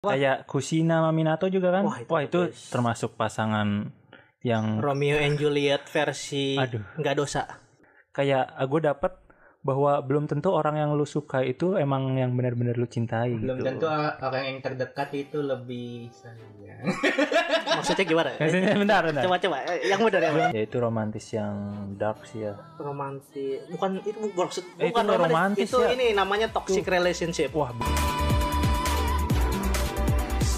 Apa? Kayak Kusina sama Minato juga kan? Wah, Wah, itu itu, bagus. termasuk pasangan yang Romeo and Juliet versi Aduh. nggak dosa. kayak ah, gue dapet bahwa belum tentu orang yang lu suka itu emang yang benar-benar lu cintai Belum gitu. tentu orang yang terdekat itu lebih sayang. Maksudnya gimana? Maksudnya bentar, bentar. coba coba Eh, yang benar yang benar. Ya itu romantis yang dark sih ya. Romantis. Bukan itu bu- maksud Eh, itu bukan nggak romantis, Itu ya. ini namanya toxic relationship. Wah, bu-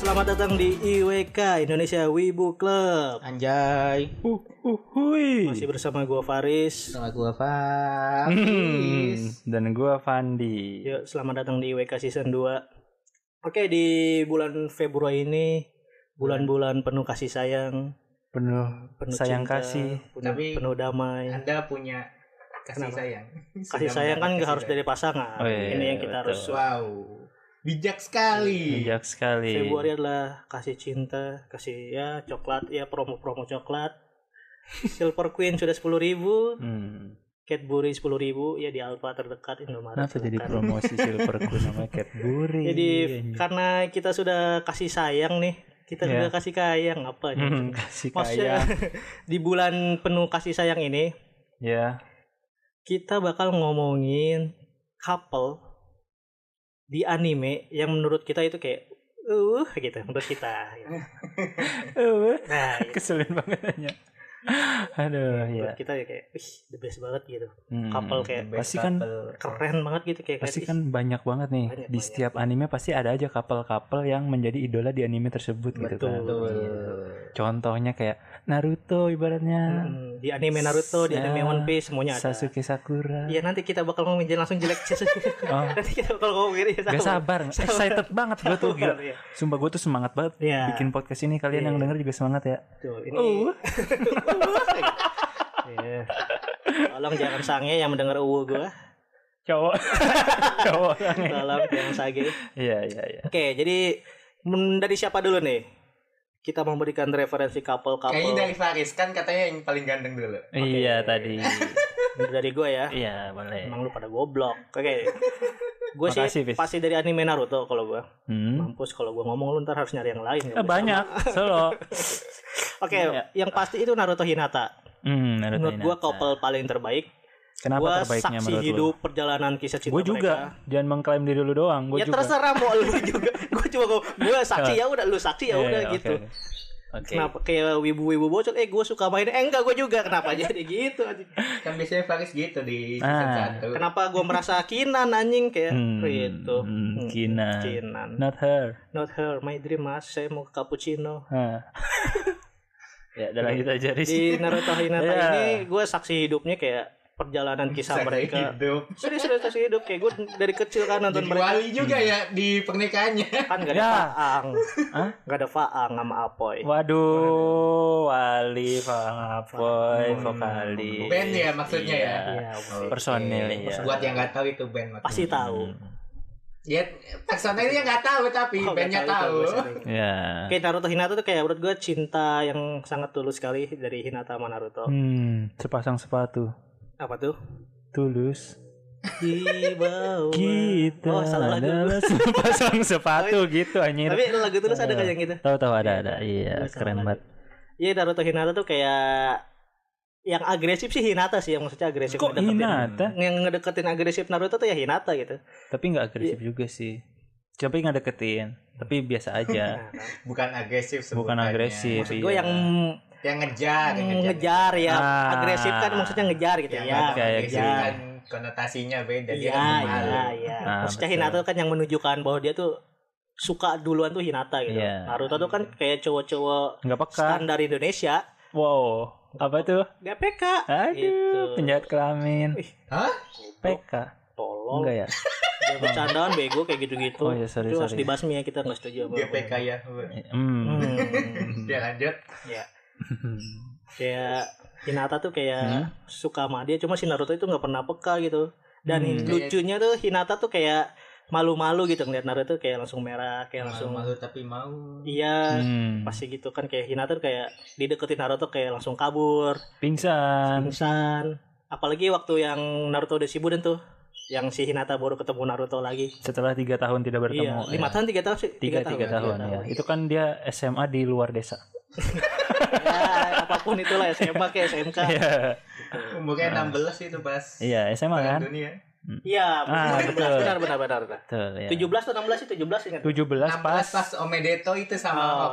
Selamat datang di IWK Indonesia Wibu Club. Anjay. uh, uh, hui. Masih bersama gua Faris. Sama gua Hmm, Faiz. Dan gua Fandi. Yuk, selamat datang di IWK season 2. Oke, di bulan Februari ini bulan-bulan penuh kasih sayang, Penuh penuh sayang cinta, kasih. penuh, Tapi- penuh damai. Anda punya kasih Kenapa? sayang. kasih Sudah sayang kan mendapat nggak harus kasih dari pasangan Oh, iya, ini yang kita betul. harus sayang. Wow. Bijak sekali. Bijak sekali. Februari adalah kasih cinta kasih ya coklat ya promo-promo coklat Silver Queen sudah sepuluh ribu Hmm. Cadbury sepuluh ribu ya di Alfa terdekat Indomaret Kenapa jadi Iya, terdekat. promosi silver ku namanya Cadbury? jadi anjing. karena kita sudah kasih sayang nih kita Iya. sudah kasih kayang apa nih? Hmm, kasih kaya. maksudnya di bulan penuh kasih sayang ini Ya. kita bakal ngomongin couple di anime yang menurut kita itu kayak uh gitu menurut kita gitu. Eh, nah gitu. Keselin banget hanya. Aduh, ya. menurut kita ya kayak wih the best banget gitu Hmm. Couple kayak- Best pasti kan couple. keren banget gitu kayak pasti kayak, kan banyak banget nih Banyak, di banyak. setiap anime pasti ada aja couple-couple yang menjadi idola di anime tersebut gitu Betul. Iya. kan. Betul. Contohnya kayak Naruto "Ih, ibaratnya, mm, di anime Naruto di anime Ya, One Piece semuanya ada Sasuke Sakura. Iya nanti kita bakal ngomongin jangan langsung jelek Sasuke. Oh. nanti kita bakal ngomongin ya, Gak sama. sabar, excited banget gue tuh gila. Iya. Sumpah gue tuh semangat banget Iya. bikin podcast ini. Kalian Iya. yang denger juga semangat ya. Tuh, ini. Uh. Iya. Tolong jangan sange yang mendengar uwu gua. Cowok. Cowok. Tolong jangan sage. Iya, iya, iya. Oke, jadi men- dari siapa dulu nih? Kita memberikan referensi couple-couple Kayaknya dari, dari Faris kan katanya yang paling ganteng dulu. Iya tadi. gue ya. Iya, boleh. Emang lu pada goblok. Oke. Gue Makasih, sih Fis. pasti dari anime Naruto kalau gue. Hmm. Mampus kalau gue ngomong lu ntar harus nyari yang lain. Eh, banyak solo. Oke, Iya. yang pasti itu Naruto Hinata. Hmm, Naruto Menurut gue Hinata. couple paling terbaik. Kenapa Gue terbaiknya saksi menurut hidup perjalanan kisah cinta Gue juga. mereka. Jangan mengklaim diri lu doang. Gue ya juga. terserah mau lu juga. Gue cuma gue saksi ya udah lu saksi ya Iya, udah iya, gitu. oke. Oke. Kenapa kayak wibu-wibu bocor? Eh gue suka main. Eh enggak gue juga. Kenapa jadi gitu? anjing? Kan biasanya Faris gitu di season Ah. 1. Kenapa gue merasa kinan anjing kayak Hmm, gitu. hmm, Hmm, kinan. Kinan. Not her. Not her. My dream mas. Saya mau ke cappuccino. Hah. ya, udah lanjut aja Riz. Di Naruto Hinata Iya. ini gue saksi hidupnya kayak perjalanan kisah Saksi mereka. hidup. Serius serius saksi hidup kayak gue dari kecil kan nonton Jadi mereka wali juga ya di pernikahannya. kan gak ada Ya. faang. Hah? Gak ada faang sama apoy. Waduh, Wali, Fang Apoy, Hmm. vokalis. Band ya maksudnya ya? Iya. Iya, Apoy. Personil Oke. ya. Buat yang nggak tahu itu band maksudnya. pasti Hmm. tahu. Ya personilnya nggak tahu tapi Oh, nggak bandnya tahu tahu. itu, gua sering. Ya. Oke Naruto Hinata tuh kayak menurut gue cinta yang sangat tulus sekali dari Hinata sama Naruto. Hmm, sepasang sepatu. Apa tuh? Tulus. Di bawah. Kita Oh salah lagu. adalah sepasang sepatu gitu anjir. Tapi lagu tulus ada kan yang gitu? Tahu-tahu ada ada. Iya, Iya, sama keren lagi. banget. Iya Naruto Hinata tuh kayak yang agresif sih Hinata sih yang maksudnya agresif Kok ngedeketin. Hinata? yang ngedeketin agresif Naruto tuh ya Hinata gitu. Tapi nggak agresif juga sih. Tapi nggak deketin. Tapi biasa aja. Nah, kan. Bukan agresif Bukan sebutannya. agresif. Maksud gue iya. yang Yang ngejar, yang Ah, ngejar, ya. Ah. Agresif kan maksudnya ngejar gitu Yang ya. oke, oke. agresif ngejar. kan konotasinya beda dia Iya, kan malu. iya, iya. Ah, Maksudnya betul. Hinata kan yang menunjukkan bahwa dia tuh suka duluan tuh Hinata gitu. Iya. Naruto tuh kan kayak cowok-cowok nggak peka. standar Indonesia, Wow, apa tuh? gak PK. Aduh, Gitu. penjahat kelamin. Ih, Hah? PK. Oh, Tolong, Enggak ya? dia bercandaan bego kayak gitu-gitu. Oh, iya, sorry, itu harus sorry. dibasmi ya kita nggak setuju apa. GPK ya. Hmm. Hmm. Dia lanjut. ya. Kayak Hinata tuh kayak suka sama dia, cuma si Naruto itu nggak pernah peka gitu. Dan Hmm. lucunya tuh Hinata tuh kayak malu-malu gitu ngeliat Naruto kayak langsung merah, kayak Iya, langsung malu tapi mau. iya Hmm. pasti gitu kan kayak Hinata tuh kayak dideketin Naruto kayak langsung kabur Pingsan. pingsan apalagi waktu yang Naruto udah Shippuden tuh yang si Hinata baru ketemu Naruto lagi. Setelah tiga tahun tidak iya, bertemu. lima ya. tahun, tiga tahun sih. tiga tiga tahun ya. Itu kan dia SMA di luar desa. Ya, apapun itulah SMA ke SMK. Iya, Umurnya 16 itu pas. iya SMA Perang kan. Dunia. Iya, Ah, betul. benar benar benar benar. Betul, ya. 17 atau 16 sih 17 ingat. 17 16 pas, pas. Omedeto itu sama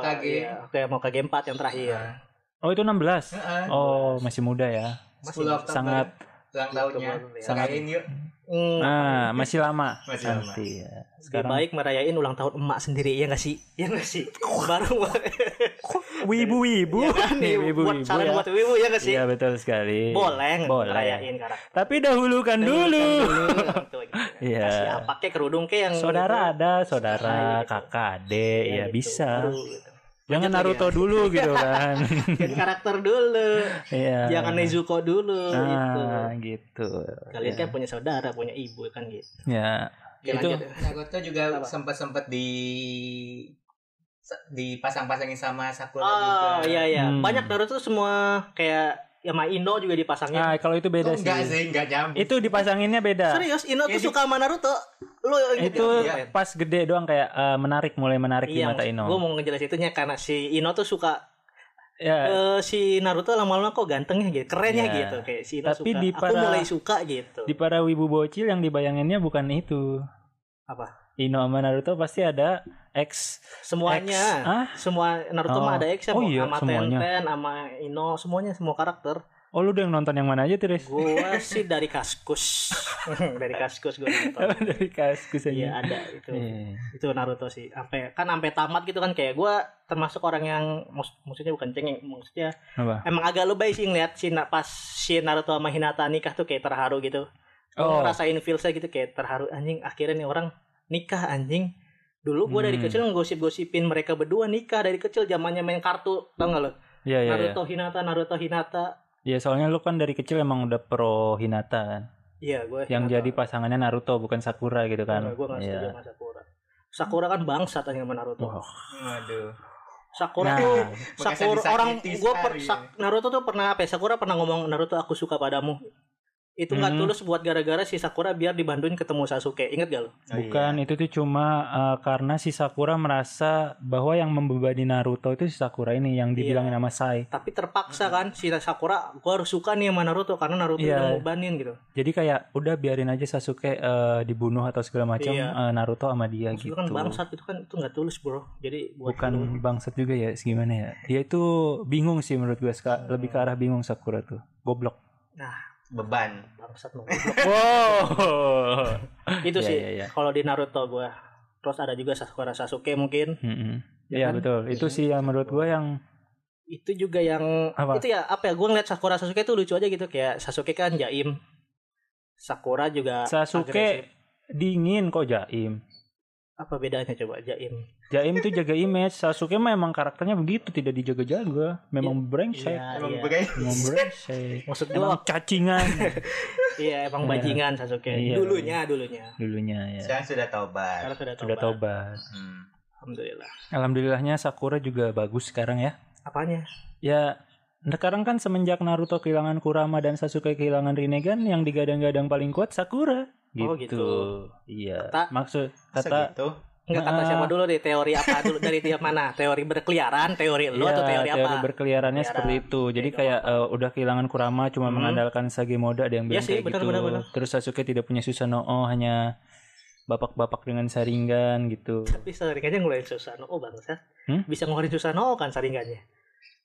Oh, Hokage. iya. Oke, mau KG 4 yang terakhir. Nah, Oh, itu 16. Heeh. Oh, masih muda ya. 10 Oktober. sangat ulang tahunnya. Iya. Sangat- Rayain yuk. Hmm, ah, masih lama. Masih lama. Nanti ya. lebih Sekarang baik merayain ulang tahun emak sendiri ya nggak sih? Ya nggak sih? Baru wibu-wibu. Ya kan, nih, buat Wibu-wibu saran ya. buat wibu ya nggak sih? Iya, betul sekali. Boleh, Boleh. merayain karakter. Tapi dahulukan dulu. Betul, gitu. Iya. Kasih apa kek kerudung kek yang Saudara ada, Nah, saudara, gitu. kakak, adik, Iya, ya gitu. bisa. Aduh, gitu. Jangan Lanjut lagi Naruto dulu gitu kan. Jadi karakter dulu, Iya. jangan Nezuko dulu gitu. Ah, gitu. Kalian kan punya saudara, punya ibu kan gitu. Ya. Oke, Itu- lanjut. Naruto juga Apa? sempat-sempat di dipasang-pasangin sama Sakura Oh, juga. iya iya. Hmm. Banyak Naruto tuh semua kayak ya sama Ino juga dipasangin. Ah, kalau itu iya, beda Oh, Itu sih. enggak sih, enggak nyambung. Itu dipasanginnya beda. Serius, Ino Iya, tuh di- suka sama Naruto. Lu Eh, gitu. Itu Iya. pas gede doang kayak eh, menarik mulai menarik di mata Ino. Gue Iya, mau ngejelasin itunya karena si Ino tuh suka Ya, eh, si Naruto lama-lama kok gantengnya gitu, kerennya Iya. gitu kayak si Ino Tapi suka. di Aku para- mulai suka gitu. di para wibu bocil yang dibayanginnya bukan itu. Apa? Ino sama Naruto pasti ada X Semuanya. X. Ah? semua Naruto Oh. mah ada action Oh iya, sama semuanya. Tenten sama Ino semuanya semua karakter Oh, lu udah yang nonton yang mana aja, Tris? gua sih dari Kaskus dari Kaskus gua nonton Oh, Dari Kaskus aja. iya ada itu Iya. itu Naruto sih sampai kan sampai tamat gitu kan kayak gua termasuk orang yang mus- maksudnya bukan cengeng maksudnya Apa? emang agak lebay sih ngeliat si Na- pas si Naruto sama Hinata nikah tuh kayak terharu gitu Oh. Gua ngerasain feelsnya gitu kayak terharu anjing akhirnya nih orang nikah anjing dulu gua dari Hmm. kecil ngosip-gosipin mereka berdua nikah dari kecil zamannya main kartu tau gak lo Iya, iya, iya. Naruto Hinata Naruto Hinata Iya, soalnya lu kan dari kecil emang udah pro Hinata kan. iya gue Yang jadi pasangannya Naruto bukan Sakura gitu kan. gue nggak setuju Iya. sama Sakura Sakura kan bangsat aja sama Naruto Wah. Aduh. Sakura eh, Nah, tuh Makanya Sakura disakiti orang gue per, sekali. Sak- Naruto tuh pernah apa ya, Sakura pernah ngomong Naruto aku suka padamu itu nggak Hmm. tulus buat gara-gara si Sakura biar dibantuin ketemu Sasuke inget gak lo Oh, bukan iya. itu tuh cuma eh, karena si Sakura merasa bahwa yang membebani Naruto itu si Sakura ini yang dibilangin Iya. nama Sai. tapi terpaksa kan si Sakura gue harus suka nih sama Naruto karena Naruto Iya. udah ngebanin gitu Jadi kayak udah biarin aja Sasuke eh, dibunuh atau segala macam Iya. eh, Naruto sama dia Maksud lu gitu. kan bangsat itu kan itu nggak tulus bro jadi buat gitu. lu- bukan bangsat juga ya gimana ya dia itu bingung sih menurut gue Ska. lebih ke arah bingung Sakura tuh goblok beban. bangsat lu. wow itu Iya, sih iya, iya. kalau di Naruto gue terus ada juga Sakura Sasuke mungkin Mm-mm. Ya Iya kan? betul itu sih yang menurut gue yang itu juga yang Apa? itu ya apa ya gue ngeliat Sakura Sasuke itu lucu aja gitu kayak Sasuke kan jaim Sakura juga Sasuke agresif. dingin kok Jaim apa bedanya coba jaim Jaim tuh jaga image Sasuke memang karakternya begitu tidak dijaga-jaga memang brengsek iya Emang iya begai- memang brengsek maksud gue Emang cacingan iya emang Iya. bajingan Sasuke Iya. dulunya dulunya dulunya ya Sekarang sudah tobat. sekarang sudah sudah tobat. tobat Hmm. alhamdulillah alhamdulillahnya Sakura juga bagus sekarang ya apanya Ya, sekarang kan semenjak Naruto kehilangan Kurama dan Sasuke kehilangan Rinnegan, yang digadang-gadang paling kuat Sakura. Gitu. Oh, gitu. Iya. Kata- Maksud Masa kata gitu? Enggak kata Nah. siapa dulu deh teori apa dulu dari tiap mana teori berkeliaran teori lu atau Iya, teori, apa berkeliarannya Berkeliaran. seperti itu. Jadi Oke, kayak eh, udah kehilangan Kurama cuma Hmm. mengandalkan Sage Moda ada yang Iya bilang sih, kayak benar, gitu. benar, benar. Terus Sasuke tidak punya Susanoo hanya bapak-bapak dengan Sharingan gitu. tapi saringannya ngeluarin Susano oh bangsa Hmm? bisa ngeluarin Susano kan saringannya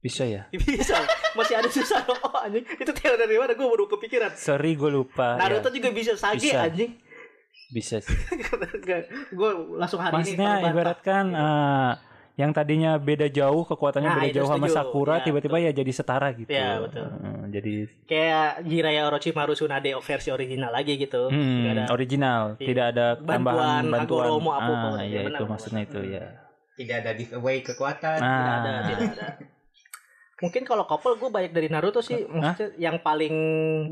Bisa ya? bisa masih ada susah oh anjing itu teori dari mana gue baru kepikiran Sorry gue lupa. Naruto Iya, juga bisa sage Bisa. anjing bisa sih. gue langsung hari Maksudnya ini terbantah. ibaratkan eh, yang tadinya beda jauh kekuatannya Nah, beda itu jauh sama setuju. Sakura Ya, tiba-tiba ya jadi setara gitu. Ya, betul. Heeh, jadi kayak Jiraiya Orochimaru Tsunade versi original lagi gitu hmm, Nggak ada original, Iya. tidak ada tambahan Bantuan, bantuan. Hagoromo, apa pun. ah, ya Benar, Iya. itu benar. maksudnya itu ya. Tidak ada giveaway kekuatan. Nah, tidak ada tidak ada mungkin kalau couple gue banyak dari Naruto sih maksudnya yang paling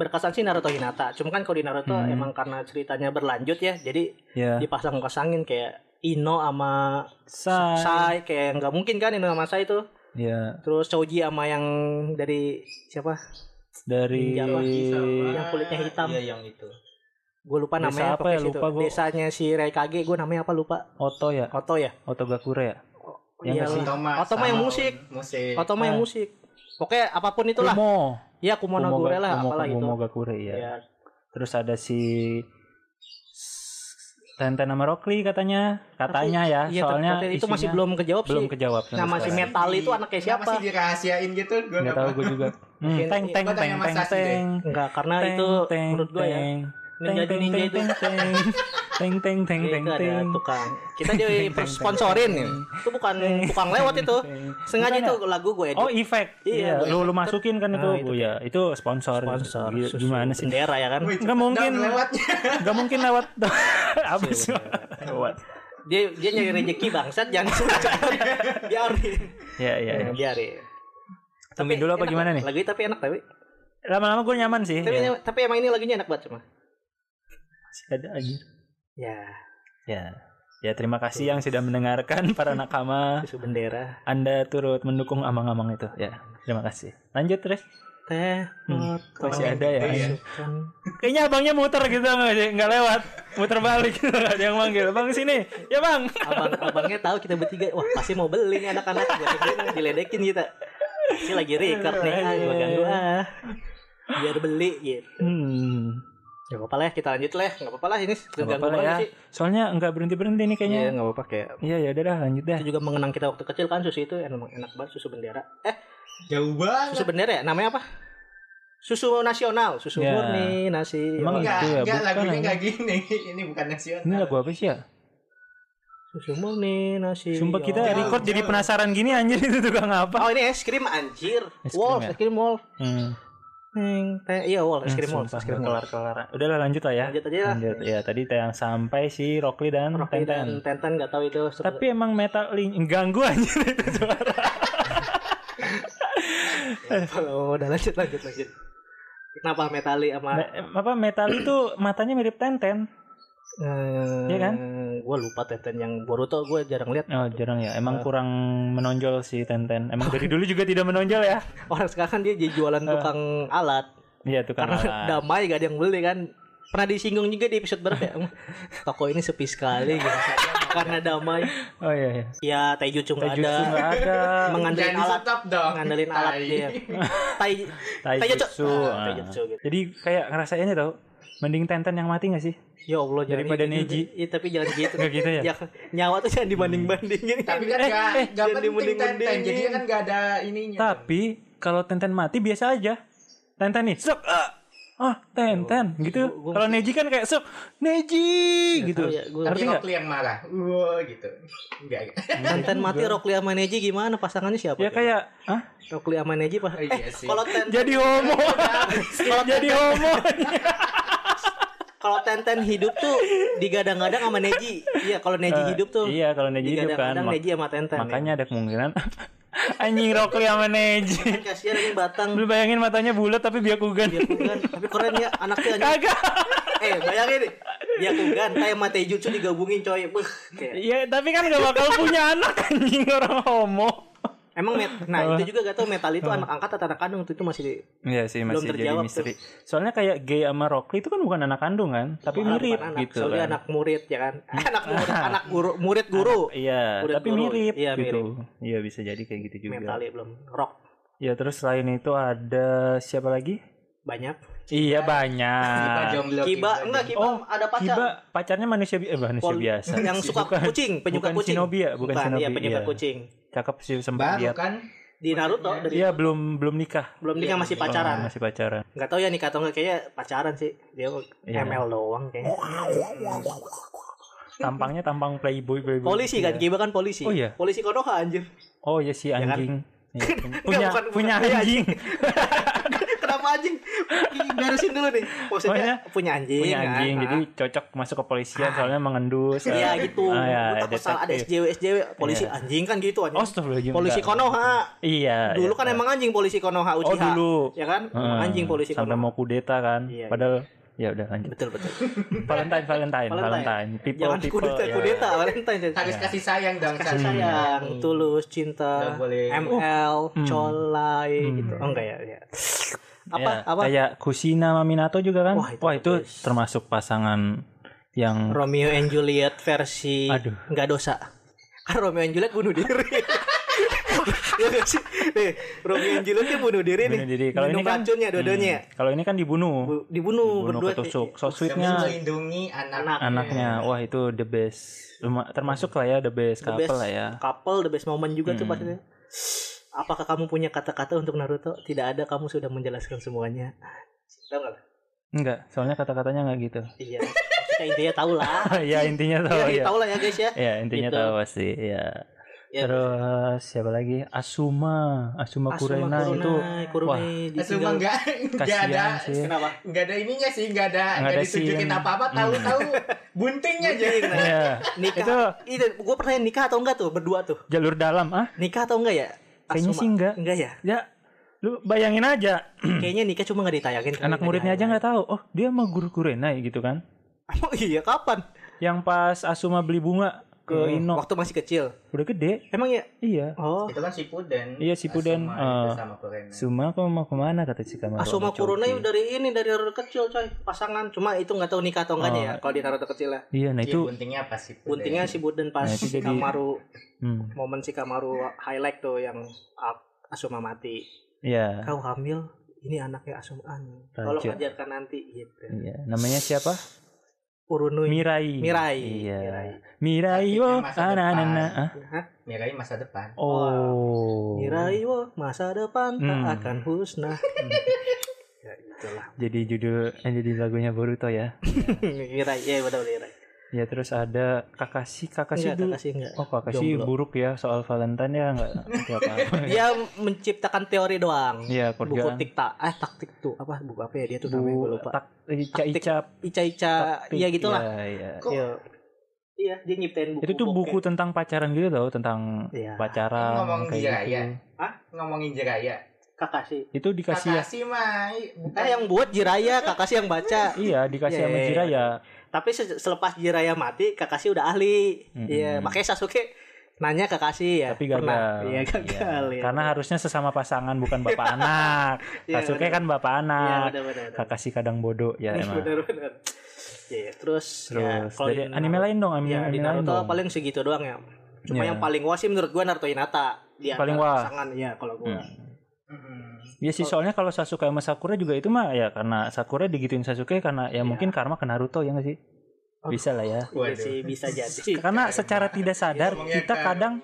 berkesan sih Naruto Hinata cuma kan kalau di Naruto Hmm. emang karena ceritanya berlanjut ya jadi ya. dipasang-pasangin kayak Ino sama Sai. Sai kayak nggak mungkin kan Ino sama Sai itu Ya, terus Choji sama yang dari siapa dari Ninja Laki Sama- Iya, Yang kulitnya hitam. Iya, yang itu. gue lupa Desa namanya apa pokoknya ya? situ. Lupa gua. desanya si Raikage gue namanya apa lupa Iya Oto ya Oto ya Oto Gakure ya Yang Iyalah. kasih- Otoma, Otoma yang sama musik. Musik. Oto mah Ah. yang musik pokoknya apapun itulah Kumo ya Kumonogure lah Kumo, apalah itu Kumo Gakure ya. ya terus ada si Tenten sama Rock Lee katanya katanya ya Iya, tapi soalnya katanya itu isinya masih belum kejawab belum sih Nah, kejawab sampai Nama si sekarang. Met- metal itu anaknya siapa? Iya. Masih dirahasiain gitu, gue nggak tahu gue juga hmm, Mungkin- teng teng Gua teng tanya teng Mas Sasi deh. teng enggak karena Teng, Nah, itu teng, menurut gue ya teng. menjadi Teng, ninja itu teng, teng teng teng teng teng itu ada teng tukang kita jadi Teng, teng, sponsorin teng, ya itu bukan Teng, tukang lewat teng, itu teng. sengaja Bukan itu lagu gue ya? oh efek Iya, iya gua lu lu masukin kan itu Ah, itu Bu, ya itu sponsor sponsor Gila, susu gimana sih bendera ya kan nggak mungkin lewatnya. nggak mungkin lewat apa Iya, sih lewat dia dia nyari rezeki bangsat jangan suka biarin ya ya ya. biarin Tungguin dulu apa enak gimana nih? loh. lagunya tapi enak tapi lama-lama gue nyaman sih tapi, ya. tapi emang ini lagunya enak banget cuma Masih ada aja ya ya ya terima kasih yang sudah mendengarkan para nakama susu bendera anda turut mendukung amang-amang itu ya terima kasih lanjut terus teh Hmm, motor masih ada ya? Iya. kayaknya abangnya muter gitu nggak sih? nggak lewat muter balik gitu nggak ada yang manggil bang sini ya bang abang abangnya tahu kita bertiga wah pasti mau beli nih anak-anak gue tungguin, diledekin kita si lagi record nih ah gue ganggu ah biar beli gitu hmm Gak apa-apa lah ya, kita lanjut lah ya. Gak apa-apa lah ini nggak ganggu apa-apa lah banget ya sih. soalnya nggak berhenti berhenti nih kayaknya Iya gak apa-apa kayak iya ya udah dah lanjut dah Itu juga mengenang kita waktu kecil kan susu itu emang enak banget susu bendera Eh Jauh banget. susu bendera ya namanya apa? Susu nasional Susu Ya. murni nasi Iya. Emang Wah, Enggak, gitu ya, enggak, bukan, lagunya anjing. enggak gini. Ini bukan nasional. ini lagu apa sih ya Susu murni nasi sumpah kita Oh, Jauh, record jadi jauh. penasaran gini anjir itu tukang apa ini es krim anjir Es krim Wolf ya? es krim Wolf hmm. Neng, teh- Iya Wolf es krim Eh, Wolf sumpah, Es krim nggak Wolf kelar-kelar udahlah lanjut lah ya Lanjut aja lah Lanjut. Ya, tadi yang sampai si Rockly dan Rocky Tenten. dan Tenten gak tahu itu seru- Tapi emang metal link ganggu aja itu suara. Oh, Udah lanjut lanjut lanjut Kenapa Metali sama Me- apa metal itu matanya mirip Tenten. eh Iya kan? Gue lupa Tenten yang Boruto gue jarang lihat. Oh, jarang ya. Emang Eh. kurang menonjol si Tenten. Emang dari dulu juga tidak menonjol ya. Orang sekarang kan dia jadi jualan tukang alat Iya, Nah. tukang karena alat. damai gak ada yang beli kan. Pernah disinggung juga di episode berapa ya? Toko ini sepi sekali gitu. karena damai. Oh iya iya. Ya Taijutsu nggak ada. Taijutsu enggak ada. Mengandalkan Jangan alat disetop dong. Nah, iya. Eh, ngandelin alat Tai. iya. dia. Tai Taijutsu. Ah, ah. Taijutsu gitu. Jadi kayak ngerasainnya tau Mending Tenten yang mati gak sih? Ya Allah jangan Daripada gitu. Neji. Iya, tapi jangan gitu. Gak gitu ya? Jangan- nyawa tuh jangan dibanding-bandingin. Eh, Tapi Eh, kan enggak enggak jangan penting tenten. dimunding-mundingin. Jadi kan enggak ada Iya, ininya. Tapi kalau Tenten mati biasa aja. Tenten nih, sok. ah, ah, Tenten gitu. Gua- gua- Kalau Neji kan kayak sok, Neji gitu. tahu ya, gua- Tapi Ngerti nggak? Rockly yang marah. Wah, gitu. Enggak. Tenten mati Rockli sama Neji gimana pasangannya siapa? Ya kayak, ah, Rockli sama Neji pas. eh, Oh, iya sih. Kalau Tenten jadi homo. Iya, jadi homo. kalau Tenten hidup tuh digadang-gadang sama Neji. Iya, kalau Neji hidup tuh. Iya, kalau Neji hidup kan. digadang-gadang mak- Neji sama Tenten. ya. makanya ada kemungkinan anjing Rockly sama Neji. ya. kasihan ini Batang. Lu bayangin matanya bulat tapi biakugan. Dia kugan, tapi keren ya anaknya anjing. Kagak. Eh, bayangin nih. Dia kugan kayak Mate Jutsu digabungin coy. Beuh, kayak. Iya, tapi kan gak bakal punya anak anjing orang homo. Emang met nah itu juga gak tau metal itu anak angkat atau anak kandung itu, itu masih di- Iya sih Belum masih jadi terjawab misteri. Soalnya kayak gay sama Rockly itu kan bukan anak kandung kan, tapi bukan mirip anak, gitu. soalnya kan. anak murid ya kan. anak murid, anak guru, murid guru. Iya, Murid tapi guru. mirip Iya, gitu. Iya bisa jadi kayak gitu juga. Metal ya belum rock Ya terus selain itu ada siapa lagi? banyak. Iya Kiba banyak. jomblo. gitu. Kiba enggak Kiba Oh, ada pacar. Kiba pacarnya manusia bi- eh, manusia Pol- biasa. yang suka Bukan- kucing, penyuka bukan kucing. shinobi ya, bukan shinobi, Iya, penyuka iya. kucing. Cakep sih sempat Baru lihat. kan. Di Naruto dari Iya belum belum nikah. belum nikah masih Oh, pacaran. masih pacaran. Enggak tahu ya nikah atau enggak kayaknya pacaran sih. Dia Iya. ML doang kayaknya. Tampangnya tampang playboy playboy. Polisi Iya. kan Kiba kan polisi. Oh, iya. Polisi Konoha anjir. Oh ya si kan? anjing. Iya, punya bukan- punya bukan. Iya, anjing. Kenapa anjing? Garusin dulu nih. Maksudnya punya anjing. punya kan? anjing. gitu. Ah. Jadi cocok masuk ke polisian soalnya mengendus. Iya eh, gitu. ah, ya, Lu takut salah ada detektif. SJW SJW polisi anjing kan gitu anjing. Astagfirullahaladzim, polisi enggak. Konoha. Iya. Dulu iya. kan emang anjing polisi Konoha Uchiha. Oh dulu. Ya kan? Emang Heeh. anjing polisi Sampai Konoha. mau kudeta kan. Iya, iya. Padahal ya udah lanjut. Betul betul. Valentine Valentine Valentine. Valentine. People Jangan people. kudeta ya. kudeta Valentine. Harus Iya. kasih sayang dong. Hmm. Kasih sayang, tulus, cinta, Nggak boleh. ML, colai Hmm. gitu. Oh enggak ya, ya. Apa? Ya, apa? Kayak Kushina sama Minato juga kan? Wah, Wah itu itu, bagus. termasuk pasangan yang Romeo and Juliet versi aduh. nggak dosa. Kan Romeo and Juliet bunuh diri. Iya nggak sih? Nih, Romeo and Juliet kan bunuh diri nih. bunuh diri. Kalau ini Minum kan racunnya dua-duanya. Hmm, kalau ini kan dibunuh. Bu- dibunuh, Dibunuh berdua. ketusuk. So Demi sweetnya melindungi anak anaknya. Wah, itu the best. Luma- Termasuk lah ya the best The couple best lah ya. couple the best moment juga tuh Hmm. pasti. Apakah kamu punya kata-kata untuk Naruto? Tidak ada, kamu sudah menjelaskan semuanya. Tahu nggak? Enggak, soalnya kata-katanya enggak gitu. Iya. Kita intinya tahu lah. ya intinya tahu Iya, ya. tahu lah ya guys ya. Ya, intinya Gitu. tahu pasti. Ya. Ya. Terus siapa lagi? Asuma, Asuma, Asuma Kurena Kurenai, itu Kurume wah, ditinggal. Cuma Eh, enggak enggak ada kasihan sih. Kenapa? enggak ada ininya sih, enggak ada Nggak enggak ada ditunjukin scene. Hmm. apa-apa, tahu-tahu buntingnya aja. Iya. Nikah. Itu Itu gue pertanyaan nikah atau enggak tuh berdua tuh? jalur dalam ah. Nikah atau enggak ya? Kayaknya Asuma. sih enggak. Enggak ya? Ya, lu bayangin aja. Kayaknya nikah cuma nggak ditayangin. kali, Anak nggak muridnya aja ditayangin. nggak tahu. Oh, dia mah guru Kurenai gitu kan. Emang iya kapan? Yang pas Asuma beli bunga ke Hmm, Ino. Waktu masih kecil. Udah gede. Emang ya? Iya. Oh. Itu kan Shippuden. Iya, Shippuden, Asuma itu eh, sama Kurena. Suma kok mau kemana kata si Kamaru sama Asuma Choki. Kuruna ya dari ini dari Naruto kecil coy pasangan cuma itu nggak tahu nikah atau enggaknya ya Oh. kalau di Naruto kecil ya Iya, nah Iya, itu buntingnya apa Shippuden? buntingnya si Buden pas Nah, itu jadi- Kamaru hmm, momen si Kamaru highlight tuh yang A- Asuma mati iya. kau hamil ini anaknya Asuma anu. kalau Raja. ajarkan nanti gitu Iya, namanya siapa? Urunui Mirai. Mirai Iya. Mirai. Mirai oh, Akhirnya wo masa ananana. depan. Ah. Hah? Mirai masa depan. Oh. Mirai wo masa depan tak Hmm. akan husnah ya itulah Jadi judul eh, jadi lagunya Boruto ya. Mirai ya betul Mirai Ya terus ada Kakashi, Kakashi enggak dulu. Iya, Kakashi enggak Oh, Kakashi Jomblo. buruk ya soal Valentine ya enggak apa-apa. dia menciptakan teori doang Iya, buku kerjaan. tikta eh taktik tuh apa buku apa ya dia tuh namanya gue Bu, lupa tak, eh, Ica Taktik. Ica ica ica Taktik, iya gitulah ya, ya. Kok iya iya dia nyiptain buku Itu tuh buku tentang pacaran gitu loh, tentang Iya. pacaran Ngomong kayak dia, gitu. ya. ngomongin Jiraya. Kakashi Itu dikasih ya. Kakashi mah i- bukan eh yang buat Jiraya Kakashi yang baca Iya, dikasih Iya, sama iya, iya. Jiraya. tapi se- selepas Jiraya mati Kakashi udah ahli Mm-mm. iya makanya Sasuke nanya Kakashi ya Tapi gagal. pernah. iya gagal Iya. ya. Karena harusnya sesama pasakan bukan bapak anak. Iya, Sasuke bener. kan bapak iya anak. benar benar benar. Kakashi kadang bodoh ya emang. benar benar Iya, terus, Terus kalau dari di anime Naruto- lain dong, anime, ya, di anime lain Naruto dong. paling segitu doang ya cuma Iya. yang paling wah sih menurut gua Naruto Hinata dia Paling wah. pasangan ya kalau gua Hmm. Mm-mm. Ya sih soalnya kalau Sasuke sama Sakura juga itu mah ya karena Sakura digituin Sasuke karena ya Iya. mungkin karma ke Naruto ya nggak sih? Aduh. Bisa lah ya. Iya Waduh. sih bisa jadi. Karena Karma. secara tidak sadar Iya, Ngomongnya kita karma. kadang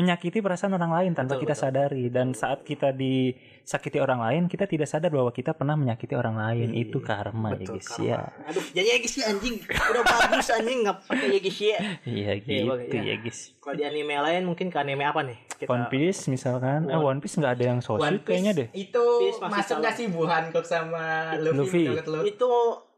menyakiti perasaan orang lain tanpa Betul, kita betul. sadari dan saat kita disakiti orang lain kita tidak sadar bahwa kita pernah menyakiti orang lain Iya, itu karma ya Betul, guys karma. ya Aduh, jadi ya guys ya anjing. Udah bagus anjing nggak pakai ya guys ya. iya Iya, gitu bagus, ya. ya guys Kalau di anime lain mungkin ke anime apa nih? Kita One Piece misalkan eh One- One Piece nggak ada yang One sosit Piece kayaknya deh Itu Piece masih masuk salah. nggak sih Bu Hancock sama Luffy, Luffy. menurut lu? itu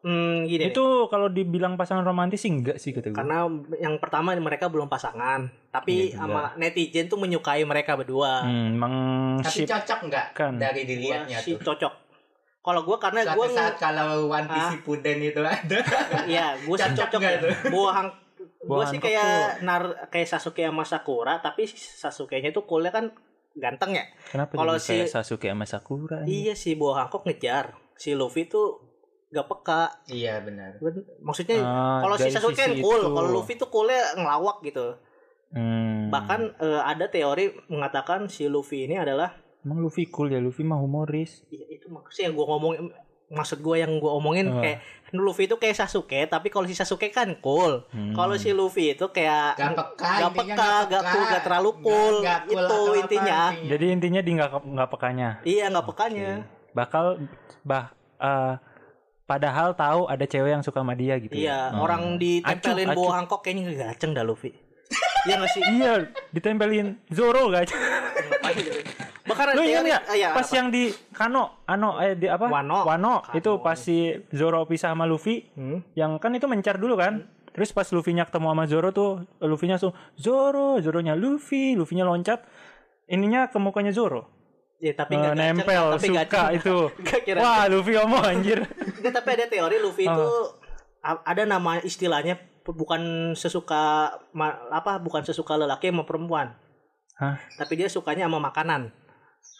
hmm, gini. nih. itu kalau dibilang pasangan romantis sih enggak sih kata gue karena yang pertama mereka belum pasangan, tapi Iya juga. sama netizen tuh menyukai mereka berdua. hmm, Tapi mengship cocok nggak Kan. dari Gua dilihatnya sih Iya, tuh? cocok. Kalau gua karena Suatu gua saat kalau One Ah. Piece Shippuden itu ada. iya, gua sih Cocok cocok. nggak ya. itu? Gua hang- gua Buah sih Hancock kayak nar kayak Sasuke sama Sakura, tapi Sasuke-nya tuh kulnya kan ganteng ya. Kenapa kalau Kalau si- kayak Sasuke sama Sakura ini? Iya si Boa Hancock ngejar. Si Luffy tuh gak peka. iya benar. Ben- Maksudnya Ah, Iya, kalau si dari Sasuke sisi kan cool, itu. kalau Luffy tuh coolnya ngelawak gitu. Hmm. Bahkan eh, ada teori mengatakan si Luffy ini adalah emang Luffy cool ya, Luffy mah humoris. Iya, itu maksudnya yang gue ngomong maksud gue yang gue omongin Ah. kayak Luffy itu kayak Sasuke, tapi kalau si Sasuke kan cool. Hmm. Kalau si Luffy itu kayak Gak peka, gak intinya peka, gak cool, gak terlalu cool. Nggak- nggak cool Itu atau apa intinya. Jadi intinya di nggak nggak pekanya. iya nggak pekanya. Oke. Bakal bah eh, padahal tahu ada cewek yang suka sama dia gitu. ya? Iya, Hmm. orang ditempelin Acuh, Boa acuh. Hancock kayaknya gaceng dah Luffy. Iya gak sih? Iya, ditempelin Zoro gak? gitu? Bahkan Lu ingat teori- nggak? ah, ya, pas apa? yang di Kano, Ano eh di apa? Wano. Kano. itu pas si Zoro pisah sama Luffy, Hmm? yang kan itu mencar dulu kan terus pas Luffy-nya ketemu sama Zoro tuh Luffy-nya langsung Zoro Zoro-nya Luffy Luffy-nya loncat ininya ke mukanya Zoro Ya, tapi Eh, nggak gaceng, nempel tapi suka gaceng. itu Nggak kira. wah Luffy kamu anjir Nggak, tapi ada teori Luffy itu Oh. a- ada nama istilahnya p- bukan sesuka ma- apa bukan sesuka lelaki sama perempuan. Hah? Tapi dia sukanya sama makanan.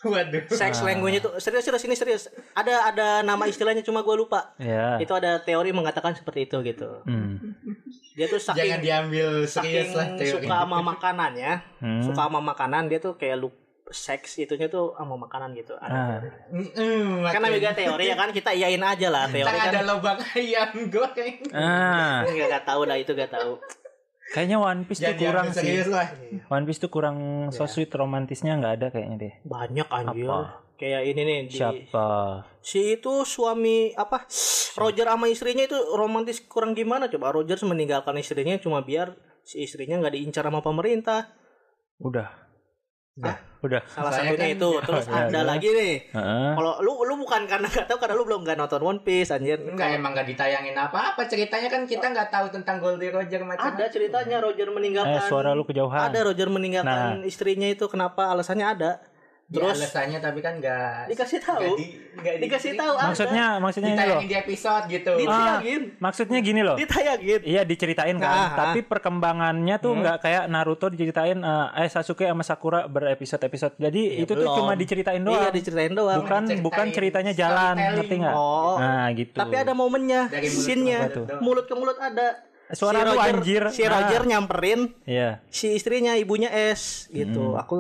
Waduh. Ah. Sex language itu serius serius ini serius. Ada ada nama istilahnya cuma gue lupa. Ya. Itu ada teori mengatakan seperti itu gitu. Hmm. Dia tuh Jangan saking diambil saking serius lah teori. suka sama makanannya, Hmm. suka sama makanan dia tuh kayak lu seks itunya tuh sama makanan gitu. Ah. Ada. Mm-mm, Kan makanya. namanya teori ya kan kita iyain aja lah teori Ntar ada kan. lubang ayam goreng. Ah, Enggak enggak tahu dah itu enggak tahu. kayaknya One Piece tuh Jangan kurang sih. diambil Iya. serius lah. One Piece tuh kurang so Iya. sweet romantisnya nggak ada kayaknya deh. Banyak anjir. Apa? Kayak ini nih di Siapa? si itu suami apa Roger sama istrinya itu romantis kurang gimana coba Roger meninggalkan istrinya cuma biar si istrinya nggak diincar sama pemerintah Udah. Udah. Udah. salah Saya satunya kan- itu terus Iya, ada iya. lagi nih Heeh. kalau lu lu bukan karena nggak tahu karena lu belum nggak nonton One Piece anjir Enggak emang gak ditayangin apa-apa ceritanya kan kita nggak tahu tentang Goldie Roger macam ada ceritanya Roger Eh, meninggalkan suara lu Nah. kejauhan. ada Roger meninggalkan istrinya itu kenapa alasannya ada terus terus alasannya tapi kan nggak dikasih nggak tahu di- nggak di- dikasih tahu ada. Maksudnya maksudnya ini loh. Ah, ditayangin di episode gitu ditayangin Maksudnya gini loh. ditayangin Iya diceritain kan, Ah, Nah, tapi perkembangannya Hmm. tuh nggak kayak Naruto diceritain eh eh, Sasuke sama Sakura berepisode-episode. Jadi Iya, itu tuh belum. cuma diceritain iya doang. diceritain doang bukan Diceritain bukan ceritanya jalan, storytelling. ngerti nggak? oh Nah, gitu. tapi ada momennya Dari mulut ke scene-nya mulut doang. mulut ke mulut ada suara lu anjir. si Nah, Roger nyamperin Iya. si istrinya ibunya S gitu Hmm. aku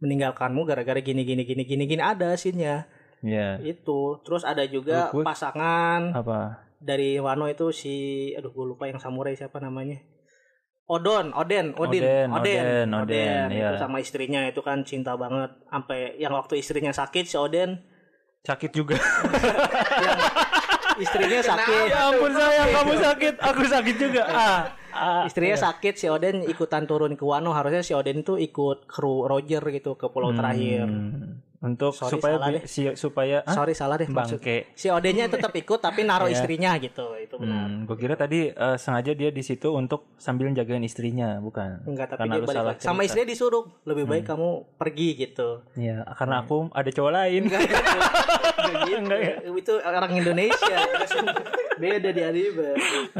meninggalkanmu gara-gara gini gini gini gini gini ada scene-nya Iya. itu terus ada juga Aku- pasangan Apa? dari Wano itu si aduh gue lupa yang samurai siapa namanya Odon, Oden, Odin, Oden, Oden, Oden, Oden, Oden, itu iya. sama istrinya itu kan cinta banget sampai yang waktu istrinya sakit si Oden, Sakit juga. istrinya sakit, ya ampun sayang, kamu sakit, aku sakit juga. Ah. ah. istrinya sakit si Oden ikutan turun ke Wano harusnya si Oden tuh ikut kru Roger gitu ke pulau terakhir Hmm. Untuk Sorry, supaya salah bi- deh. si- supaya ah, sorry salah deh maksud bangke. si Odennya tetap ikut tapi naruh Iya. istrinya gitu itu benar Hmm, gue kira tadi eh, sengaja dia di situ untuk sambil jagain istrinya, bukan? enggak tapi Karena dia lu balik salah lagi. sama cerita. Hmm. istrinya disuruh lebih baik kamu pergi gitu Iya, karena aku ada cowok lain. enggak gitu. Enggak gitu. Enggak ya? itu orang Indonesia beda di Ariba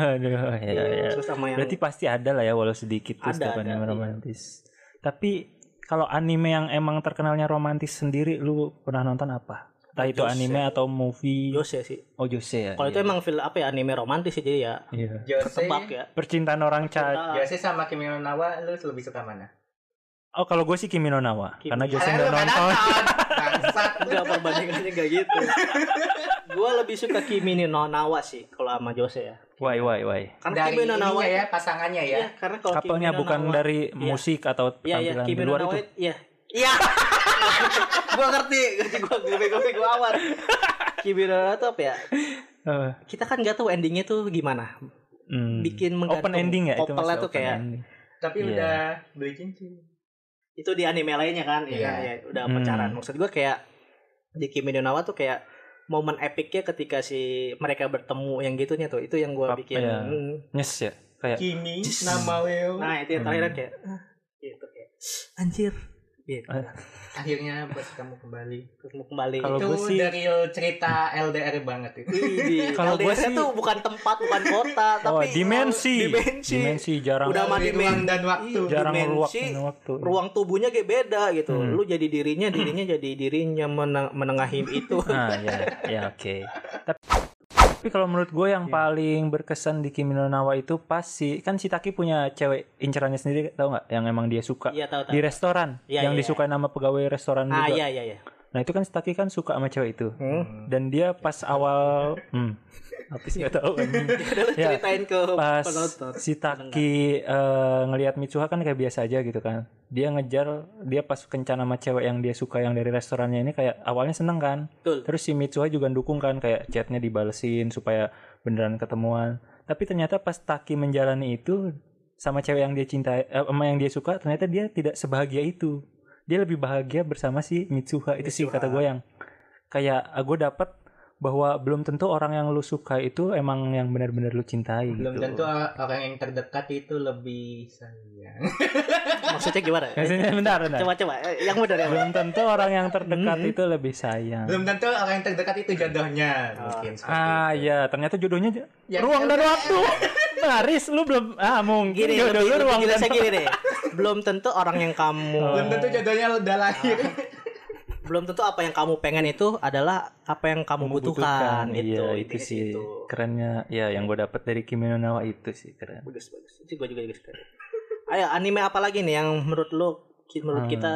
Aduh, ya, ya. Iya, terus sama yang Berarti pasti ada lah ya walau sedikit tuh Ada, setiap ada, anime iya. romantis. Tapi kalau anime yang emang terkenalnya romantis sendiri lu pernah nonton apa? Entah itu Jose. anime atau movie. Yose sih Oh, Jose ya. kalau itu iya. emang film apa ya anime romantis sih jadi ya Iya. Jose ketebak ya Percintaan orang cacat. Ah, Jose sama Kimi no Nawa lu lebih suka mana Oh, kalau gue sih Kimi no Na wa. Kimi. Karena Jose Karena udah lu nggak nonton. bangsat Enggak perbandingannya enggak gitu. gua lebih suka Kimi ni no Nawa sih kalau sama Jose ya. Why, why, why? Karena dari Kimi no Nawa ininya ya pasangannya ya Iya, karena kalau Couple-nya bukan dari musik atau Iya, iya, penampilan Kimi di no luar Nawa. itu. Iya. Iya. gua ngerti, gua gua bego bego awal. Kimi no Nawa itu apa ya? Eh, Kita kan nggak tahu endingnya tuh gimana. hmm. Bikin open menggantung ending ya itu couple-nya maksudnya tuh open kayak ending. tapi Iya. udah beli cincin itu di anime lainnya kan, iya Iya. kan, iya, udah Hmm. pacaran. Maksud gua kayak di Kimi no Nawa tuh kayak momen epiknya ketika si mereka bertemu yang gitunya tuh itu yang gua Pap- bikin iya. hmm. Yes ya. Kayak Iya, Kimi nama Leo Nah itu yang terakhir Hmm. kan kayak ah, gitu kayak anjir gitu. Eh. akhirnya bertemu kembali Terus mau kembali Kalau itu gua sih- dari cerita LDR banget itu Iya. kalau kalau gua gue sih- tuh bukan tempat bukan kota oh, tapi dimensi. dimensi, Dimensi jarang Udah mah Melalui dimen- ruang dan waktu Iya. jarang dimensi, ruang waktu. ruang tubuhnya kayak beda gitu Hmm. lu jadi dirinya dirinya jadi dirinya meneng- menengahi itu Nah, ya, ya oke. Tapi, tapi kalau menurut gue yang paling berkesan di Kimi no Na wa itu pas si kan si Taki punya cewek incerannya sendiri tau nggak yang emang dia suka iya tahu di tahu restoran Iya, yang iya. disukai nama pegawai restoran ah juga. iya iya iya Nah itu kan si Taki kan suka sama cewek itu hmm? dan dia pas awal hmm, apa sih nggak tahu anjing. Udah lu Ya, ceritain ke pas penonton si Taki eh, ngelihat Mitsuha kan kayak biasa aja gitu kan dia ngejar dia pas kencan sama cewek yang dia suka yang dari restorannya ini kayak awalnya seneng kan betul terus si Mitsuha juga dukung kan kayak chatnya dibalesin supaya beneran ketemuan tapi ternyata pas Taki menjalani itu sama cewek yang dia cinta eh, sama yang dia suka ternyata dia tidak sebahagia itu dia lebih bahagia bersama si Mitsuha itu sih Mitsuha. kata gue yang kayak "Ah, gue dapet bahwa belum tentu orang yang lu suka itu emang yang benar-benar lu cintai belum gitu. tentu orang yang terdekat itu lebih sayang maksudnya gimana Maksudnya Iya, bentar, bentar. coba coba Eh, yang benar yang benar. Belum tentu orang yang terdekat itu lebih sayang. belum tentu orang yang terdekat itu jodohnya mungkin seperti Ah itu. ya, ternyata jodohnya j- Ya, ruang dan ya, waktu. Baris lu belum ah mungkin gini jodoh lu lebih, lebih ruang dan Oh. jelasnya gini deh belum tentu orang yang kamu belum tentu jodohnya udah lahir belum tentu apa yang kamu pengen itu adalah apa yang kamu butuhkan. Iya, Itu itu intinya gitu. sih situ. kerennya ya yang gue dapet dari Kimi no Na wa itu sih keren. Bagus bagus. Itu gue juga juga suka. Ayo anime apa lagi nih yang menurut lo ki- menurut Hmm. kita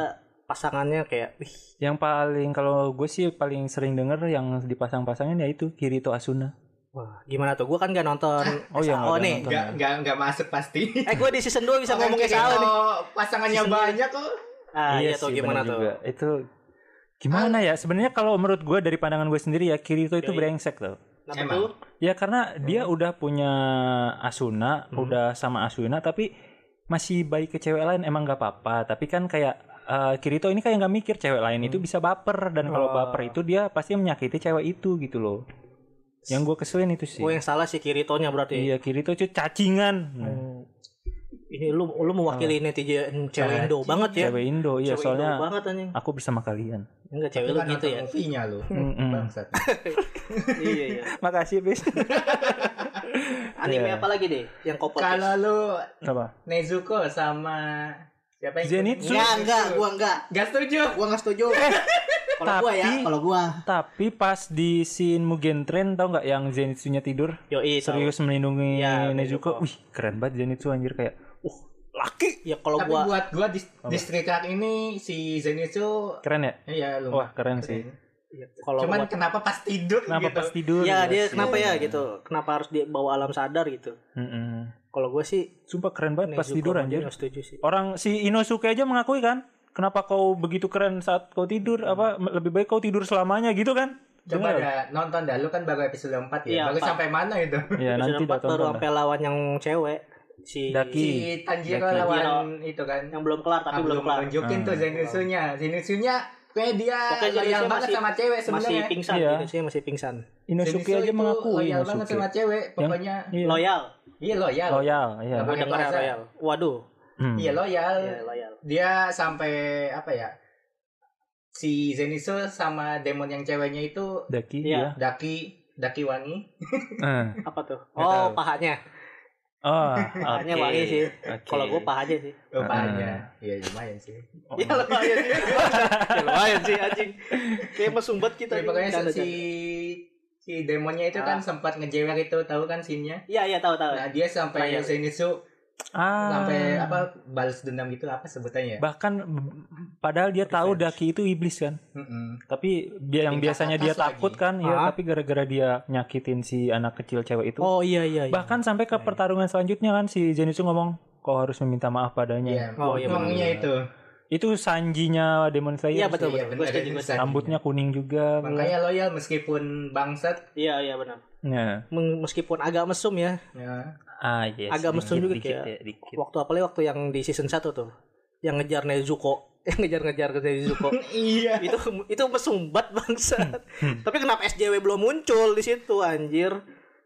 pasangannya kayak wih Yang paling kalau gue sih paling sering denger yang dipasang-pasangin ya itu Kirito Asuna. wah gimana tuh? Gue kan gak nonton Oh iya, SAO nggak nih. nonton. Oh, iya, Nggak nggak nggak masuk pasti. Eh gue di season 2 bisa Orang ngomong SAO Kirito nih. Pasangannya Season banyak kok. Ah, iya, tuh sih, gimana bener tuh? juga. Itu gimana ya? Sebenarnya kalau menurut gue dari pandangan gue sendiri ya Kirito itu Dari- brengsek loh. Kenapa Emang. tuh? Ya karena dia udah punya Asuna, Hmm. udah sama Asuna, tapi masih baik ke cewek lain emang nggak apa-apa. Tapi kan kayak eh, Kirito ini kayak nggak mikir cewek lain Hmm. itu bisa baper dan kalau Oh. baper itu dia pasti menyakiti cewek itu gitu loh. Yang gue keselin itu sih. Gue yang salah si Kiritonya berarti. Iya Kirito itu cacingan. Nah, Hmm. Ini lu lu mewakili netizen cewek Indo banget ya. Iya. Cewek Indo, iya Cewek soalnya Indo banget anjing. aku bersama kalian. Enggak cewek lu Kan gitu nonton ya. Movie-nya lu. Mm-mm. Bangsat. iya iya. Makasih bis. Anime Iya. apa lagi deh yang kopot? Kalau lu Apa? Nezuko sama siapa yang Zenitsu. Enggak, enggak, gua enggak. Gak setuju. Gua enggak setuju. kalau gua ya, Eh, tapi- kalau gua. Tapi pas di scene Mugen Train tau nggak yang Zenitsunya tidur? Yo, iya, serius melindungi Iya, Nezuko. Nezuko. Wih, keren banget Zenitsu anjir kayak uh laki. Ya kalau Tapi gua buat gua di, di Street Art ini si Zenitsu Keren ya? iya lu. Wah, keren sih. ya, kalau gua- Cuman kenapa pas tidur Kenapa gitu? pas tidur? Iya ya dia sih. kenapa ya gitu? Kenapa harus dia bawa alam sadar gitu? Mm-mm. Kalau gua sih Sumpah keren banget pas Nezuko tidur sama dia anjir. nggak setuju sih. Orang si Inosuke aja mengakui kan? Kenapa kau begitu keren saat kau tidur? Apa lebih baik kau tidur selamanya gitu kan? Coba Dengar? dah nonton dah lu kan baru episode 4 ya. Iya, baru Pak. sampai mana itu? Iya, Episode nanti dah empat baru tonton. sampai lawan yang cewek si Daki. si- Si Tanjiro Daki. lawan itu kan. yang belum kelar Iya. tapi Ah, belum kelar. Nunjukin Hmm. tuh Zenitsunya. Zenitsunya kayak dia Pokoknya loyal Zenitsu banget masih- sama cewek Masih sebenarnya. pingsan, Iya. gitu sih, masih pingsan. Inosuke aja itu mengakui loyal banget Inosuke. sama cewek. Pokoknya Iya. Loyal. iya loyal. Loyal, iya. Gue Apa yang dengarnya merasa? loyal. Waduh. Hmm. Iya loyal. Iya, loyal. Dia sampai apa ya? Si Zenitsu sama demon yang ceweknya itu Daki, Iya. iya. Daki Daki Wangi. Eh. Apa tuh? Nggak Oh, tahu. pahanya. Oh, oke. Pahanya wangi sih. Oke. Kalau gue pahanya sih. ah. Rupanya. Iya lumayan sih. Oh. Ya lumayan sih. ya lumayan sih anjing. Kayak mesumbat kita. Tapi nih, pokoknya bercanda, si si demonnya itu Ah. kan sempat ngejewer itu tahu kan sinnya. bercanda. Iya, iya tahu tahu. Nah dia sampai Layar. Zenitsu Ah. sampai apa balas dendam gitu apa sebutannya ya? bahkan b- padahal dia tahu Revenge. Daki itu iblis kan Mm-mm. tapi dia yang Tingkat biasanya dia atas lagi. takut kan ya Ah. tapi gara-gara dia nyakitin si anak kecil cewek itu Oh iya iya iya. bahkan sampai ke pertarungan selanjutnya kan si Zenitsu ngomong kau harus meminta maaf padanya Iya, Oh, iya, benar. ngomongnya itu. itu sanjinya Demon Slayer Iya betul Iya, betul. Gue benar, setuju ini gue setuju. sanjinya. rambutnya kuning juga iya. Makanya loyal meskipun bangsat. Iya iya benar. nah Meng- Meskipun agak mesum ya. Ya. ah yes, Agak mesum juga dikit, kayak- ya, dikit. Waktu apalagi waktu yang di season 1 tuh. Yang ngejar Nezuko. Yang ngejar-ngejar ke Nezuko. Iya. itu itu mesumbat bangsa. Tapi kenapa SJW belum muncul di situ anjir?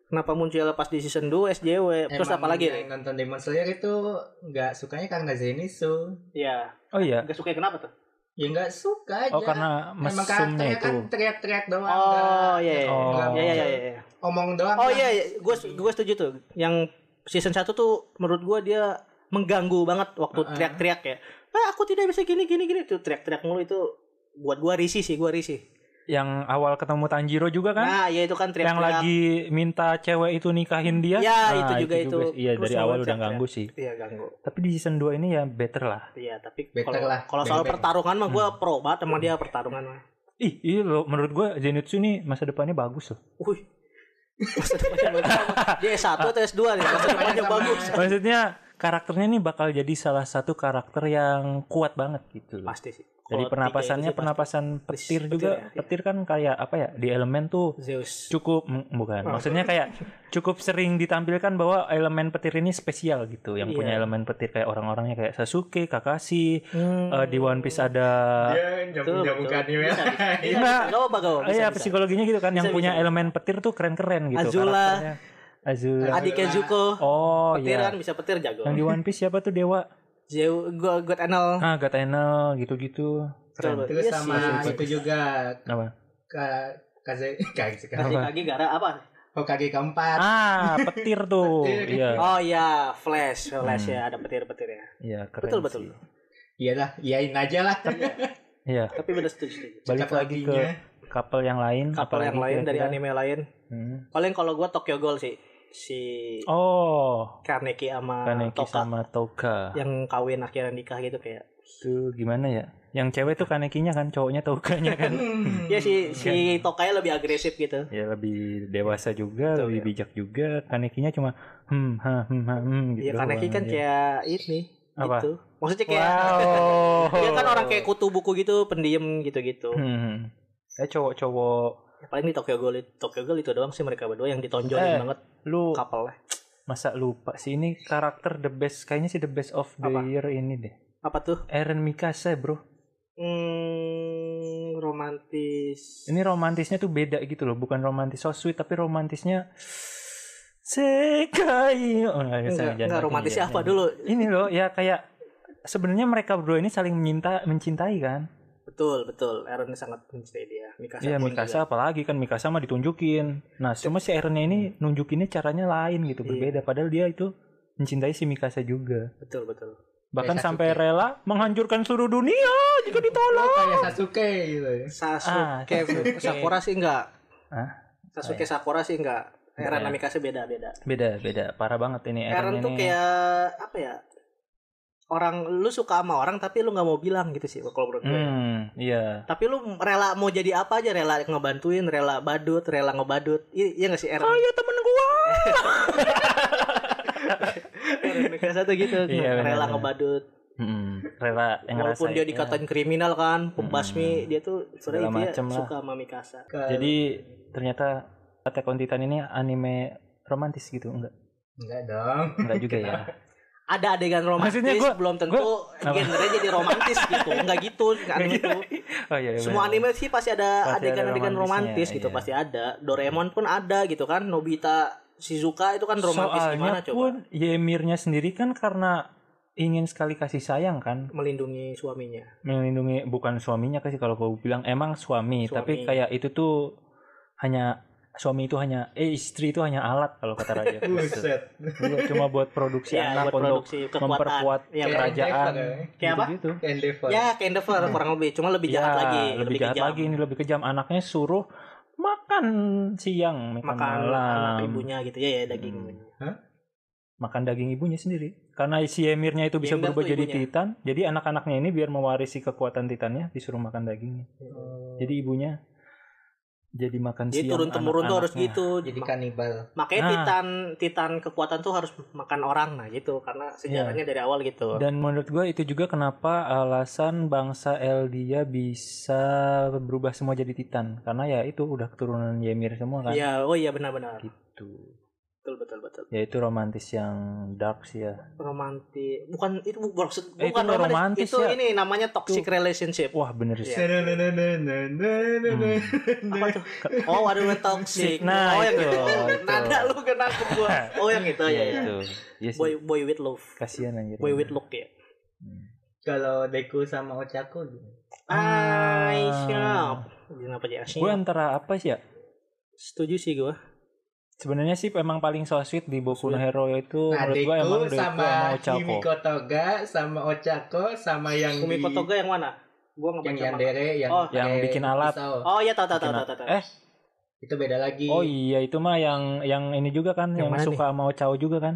Kenapa muncul pas di season 2 SJW? Terus Emang iya, apa lagi? yang nonton Demon Slayer itu nggak sukanya karena Zenitsu. Ya, oh iya gak suka kenapa tuh? Ya nggak suka Iya, aja. oh karena Emang karakternya mesumnya itu kan teriak-teriak doang. Oh, nggak- iya iya. Oh. Iya iya iya. iya. Omong doang. Oh kan. iya, iya. gue gue setuju tuh. Yang season 1 tuh menurut gue dia mengganggu banget waktu Heeh. teriak-teriak ya. Ah, aku tidak bisa gini gini gini tuh teriak-teriak mulu itu buat gua risih sih, gua risih. yang awal ketemu Tanjiro juga kan Nah, ya itu kan teriak-teriak. yang lagi minta cewek itu nikahin dia Ya, Nah, itu juga itu. sih. iya Terus dari semua awal udah teriak-teriak. ganggu sih Iya, ganggu. tapi di season 2 ini ya better lah Iya, tapi Better kalau lah, kalau soal bebek. pertarungan mah Hmm. gue pro banget sama dia pertarungan mah. Ih, iya loh, menurut gue Zenitsu ini masa depannya bagus loh. Wih. Masa depannya bagus sama. Dia S1 atau S2 nih? Masa depannya Sama. bagus. Maksudnya karakternya nih bakal jadi salah satu karakter yang kuat banget gitu loh. Pasti sih. Jadi Kalau pernapasannya tiga iya, itu sih pernapasan petir Petir juga. ya, iya. Petir kan kayak apa ya? Di elemen tuh pasti. Zeus. cukup mm, bukan. Oh. Maksudnya kayak cukup sering ditampilkan bahwa elemen petir ini spesial gitu. Yang Iya. punya elemen petir kayak orang-orangnya kayak Sasuke, Kakashi, Hmm. eh, di One Piece ada Dia jamu-jamu kan ya. Bisa, bisa. Bisa, Iya. bisa. Gak apa-apa, gak apa-apa. Eh, Bisa, ya bisa. psikologinya gitu kan yang Bisa, punya bisa. elemen petir tuh keren-keren gitu Azula. karakternya. Azula. Adiknya Zuko. Oh Petir iya. kan bisa petir jago. Yang di One Piece siapa tuh dewa? Zeus, gue gue anal. Ah, God Enel gitu-gitu. Keren. Betul, Terus Iya sama sih. itu juga Apa? Ka- Kaze Kaze Kasih lagi gara apa? Hokage keempat. Ah, petir tuh. Petir. Iya. Oh iya, flash, flash Hmm. ya ada petir-petirnya. Iya, keren. Betul, betul. sih. Iyalah, iyain aja lah. Tapi Iya. Tapi beda setuju. setuju. Balik Cocok lagi ke lakinya. couple yang lain. Couple Hmm. yang apalagi lain dari kira-kira? anime lain. Hmm. Paling kalau gua Tokyo Ghoul sih. Si Oh, Kaneki sama Kaneki Toka Iya. sama Toka. yang kawin akhirnya nikah gitu kayak. Itu gimana ya? Yang cewek tuh Kanekinya kan, cowoknya Tokanya kan. Hmm. Ya si si Tokanya lebih agresif gitu. ya lebih dewasa juga, Betul, lebih ya. bijak juga. Kanekinya cuma hmm ha hmm ha hmm gitu. Iya Kaneki doang, kan ya. kayak ini Apa? gitu. Maksudnya kayak Wow. dia kan orang kayak kutu buku gitu, pendiam gitu-gitu. Hmm. Ya cowok-cowok Paling di Tokyo Ghoul Tokyo Ghoul itu doang sih mereka berdua yang Eh. ditonjolin banget lu couple masa lupa sih ini karakter the best kayaknya sih the best of the Apa? year ini deh. Apa tuh? Eren Mikasa, Bro. Hmm, romantis. Ini romantisnya tuh beda gitu loh, bukan romantis so sweet tapi romantisnya Sekai. Oh, nggak, enggak, jangan- enggak jangan. romantisnya Iya, apa iya. dulu? Ini loh ya kayak sebenarnya mereka berdua ini saling menyinta, mencintai kan? Betul, betul. Aaron sangat mencintai dia. Mikasa Iya pun Mikasa apalagi kan Mikasa mah ditunjukin. Nah cuma si Eren ini nunjukinnya caranya lain gitu Hmm. Iya. berbeda. Padahal dia itu mencintai si Mikasa juga. juga. Betul, betul. Bahkan Kayak sampai Sasuke. rela menghancurkan seluruh dunia jika ditolak. Oh, kayak Sasuke gitu ya. Ah, Sasuke, Sasuke. Sakura sih enggak. Hah? Sasuke Sakura sih enggak. Eren sama Mikasa beda-beda. Beda beda parah banget ini ya? Eren, Eren ini. ya. tuh kayak apa ya? Orang lu suka sama orang tapi lu nggak mau bilang gitu sih kalau menurut gue. Hmm iya Tapi lu rela mau jadi apa aja, rela ngebantuin, rela badut, rela ngebadut. I- Iya gak sih Eren? ya temen gua. Eren Mikasa tuh gitu, Iya, benar, rela benar. ngebadut. Hmm, rela yang Walaupun ngerasain, dia ya. dikatain kriminal kan, pembasmi, dia tuh sebenarnya Segala dia macem lah. suka sama Mikasa. Ke- Jadi ternyata Attack on Titan ini anime romantis gitu enggak enggak dong. enggak juga ya Ada adegan romantis, Maksudnya gua- belum tentu apa? genre jadi romantis gitu. Enggak gitu, enggak gitu. oh iya iya, Semua benar. anime sih pasti Pasti ada ada adegan-adegan romantisnya, romantis gitu, iya. pasti ada. Doraemon pun ada gitu kan, Nobita, Shizuka itu kan romantis Soalnya gimana coba? pun Yemirnya sendiri kan karena ingin sekali kasih sayang kan Melindungi suaminya. melindungi bukan suaminya kasih kalau gue bilang emang suami, Suami. tapi kayak itu tuh hanya suami itu hanya eh istri itu hanya alat kalau kata raja Gitu. Buset. Dulu cuma buat produksi Iya, anak buat untuk produksi memperkuat Iya, Kayak kerajaan. kerajaan Endeavor, ya. Kayak apa? gitu Iya, Kayak Endeavor. Ya, kayak Endeavor kurang lebih, cuma lebih jahat lagi, lebih, jahat kejam. lagi ini lebih kejam anaknya suruh makan siang makan, makan malam anak ibunya gitu ya ya daging. Hmm. makan daging ibunya sendiri. Karena si Emirnya itu bisa Ember berubah tuh jadi ibunya. Titan, jadi anak-anaknya ini biar mewarisi kekuatan Titannya disuruh makan dagingnya. Jadi ibunya jadi makan siang. Jadi turun temurun tuh harus anak-anaknya. gitu. Jadi Jadi kanibal. makanya Nah. titan titan kekuatan tuh harus makan orang nah gitu karena sejarahnya Iya. dari awal gitu. Dan menurut gue itu juga kenapa alasan bangsa Eldia bisa berubah semua jadi Titan, karena ya itu udah keturunan Ymir semua kan. Iya, oh iya benar-benar. Gitu. Betul betul betul. Ya itu romantis yang dark sih ya. Romantis. Bukan itu bu- maksud Eh, itu bukan nggak romantis, romantis itu ya. ini namanya toxic relationship. Wah bener sih. Hmm. Iya. Apa tuh? Oh, ada yang toxic. Nah, oh, yang itu, gitu. itu. Nada lu kena ke gua. Oh, yang itu ya. ya. itu. Iya sih. Boy boy with love. Kasihan anjir. Boy with look ya. Kalau Deku sama Ochaku Ah. Aisyah. Kenapa jadi Gue Aisyah? antara apa sih ya? Setuju sih gua. Sebenarnya sih emang paling so sweet di Boku no Sweet. Hero itu Nah, menurut gue Deku emang Deku sama, sama Ochako. Himiko Toga sama Ochako sama yang Kumiko di- Toga yang mana? Gua nggak baca yang manga. Yandere yang Oh. Yang pakai bikin alat. pisau. Oh iya tahu tahu tahu Bikin tahu apa? tahu. Eh, Itu beda lagi. oh iya itu mah yang yang ini juga kan Yang yang, mana suka sama Ochao juga kan.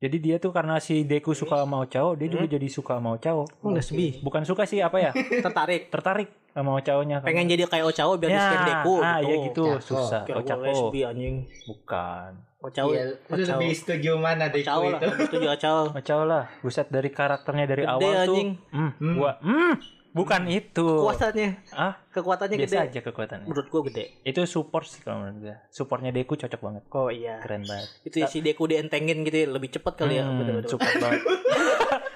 Jadi dia tuh karena si Deku suka sama Ochao, dia juga Hmm? jadi suka sama Ochao. Oh, lesbi. Bukan suka sih apa ya? Tertarik. Tertarik sama Ochao-nya kan. Pengen jadi kayak Ochao biar ya, bisa deku ah, ya gitu, Ochako. susah. Kira gue Ochako lesbi anjing. bukan. Ochao. Iya, lu Ochao. lebih setuju mana Deku Ochao lah. itu? Aku Setuju Ochao. Ochao lah, buset dari karakternya dari Gede awal tuh. anjing. Hmm, Hmm. gua hmm, bukan itu. Kekuatannya. Ah, Kekuatannya biasa gede. aja kekuatannya. Menurut gua gede. Itu support sih kalau menurut gue. Supportnya Deku cocok banget. Oh iya. Keren banget. Itu ya, si Deku dientengin gitu ya, lebih cepet kali ya. Hmm, Betul betul. support banget.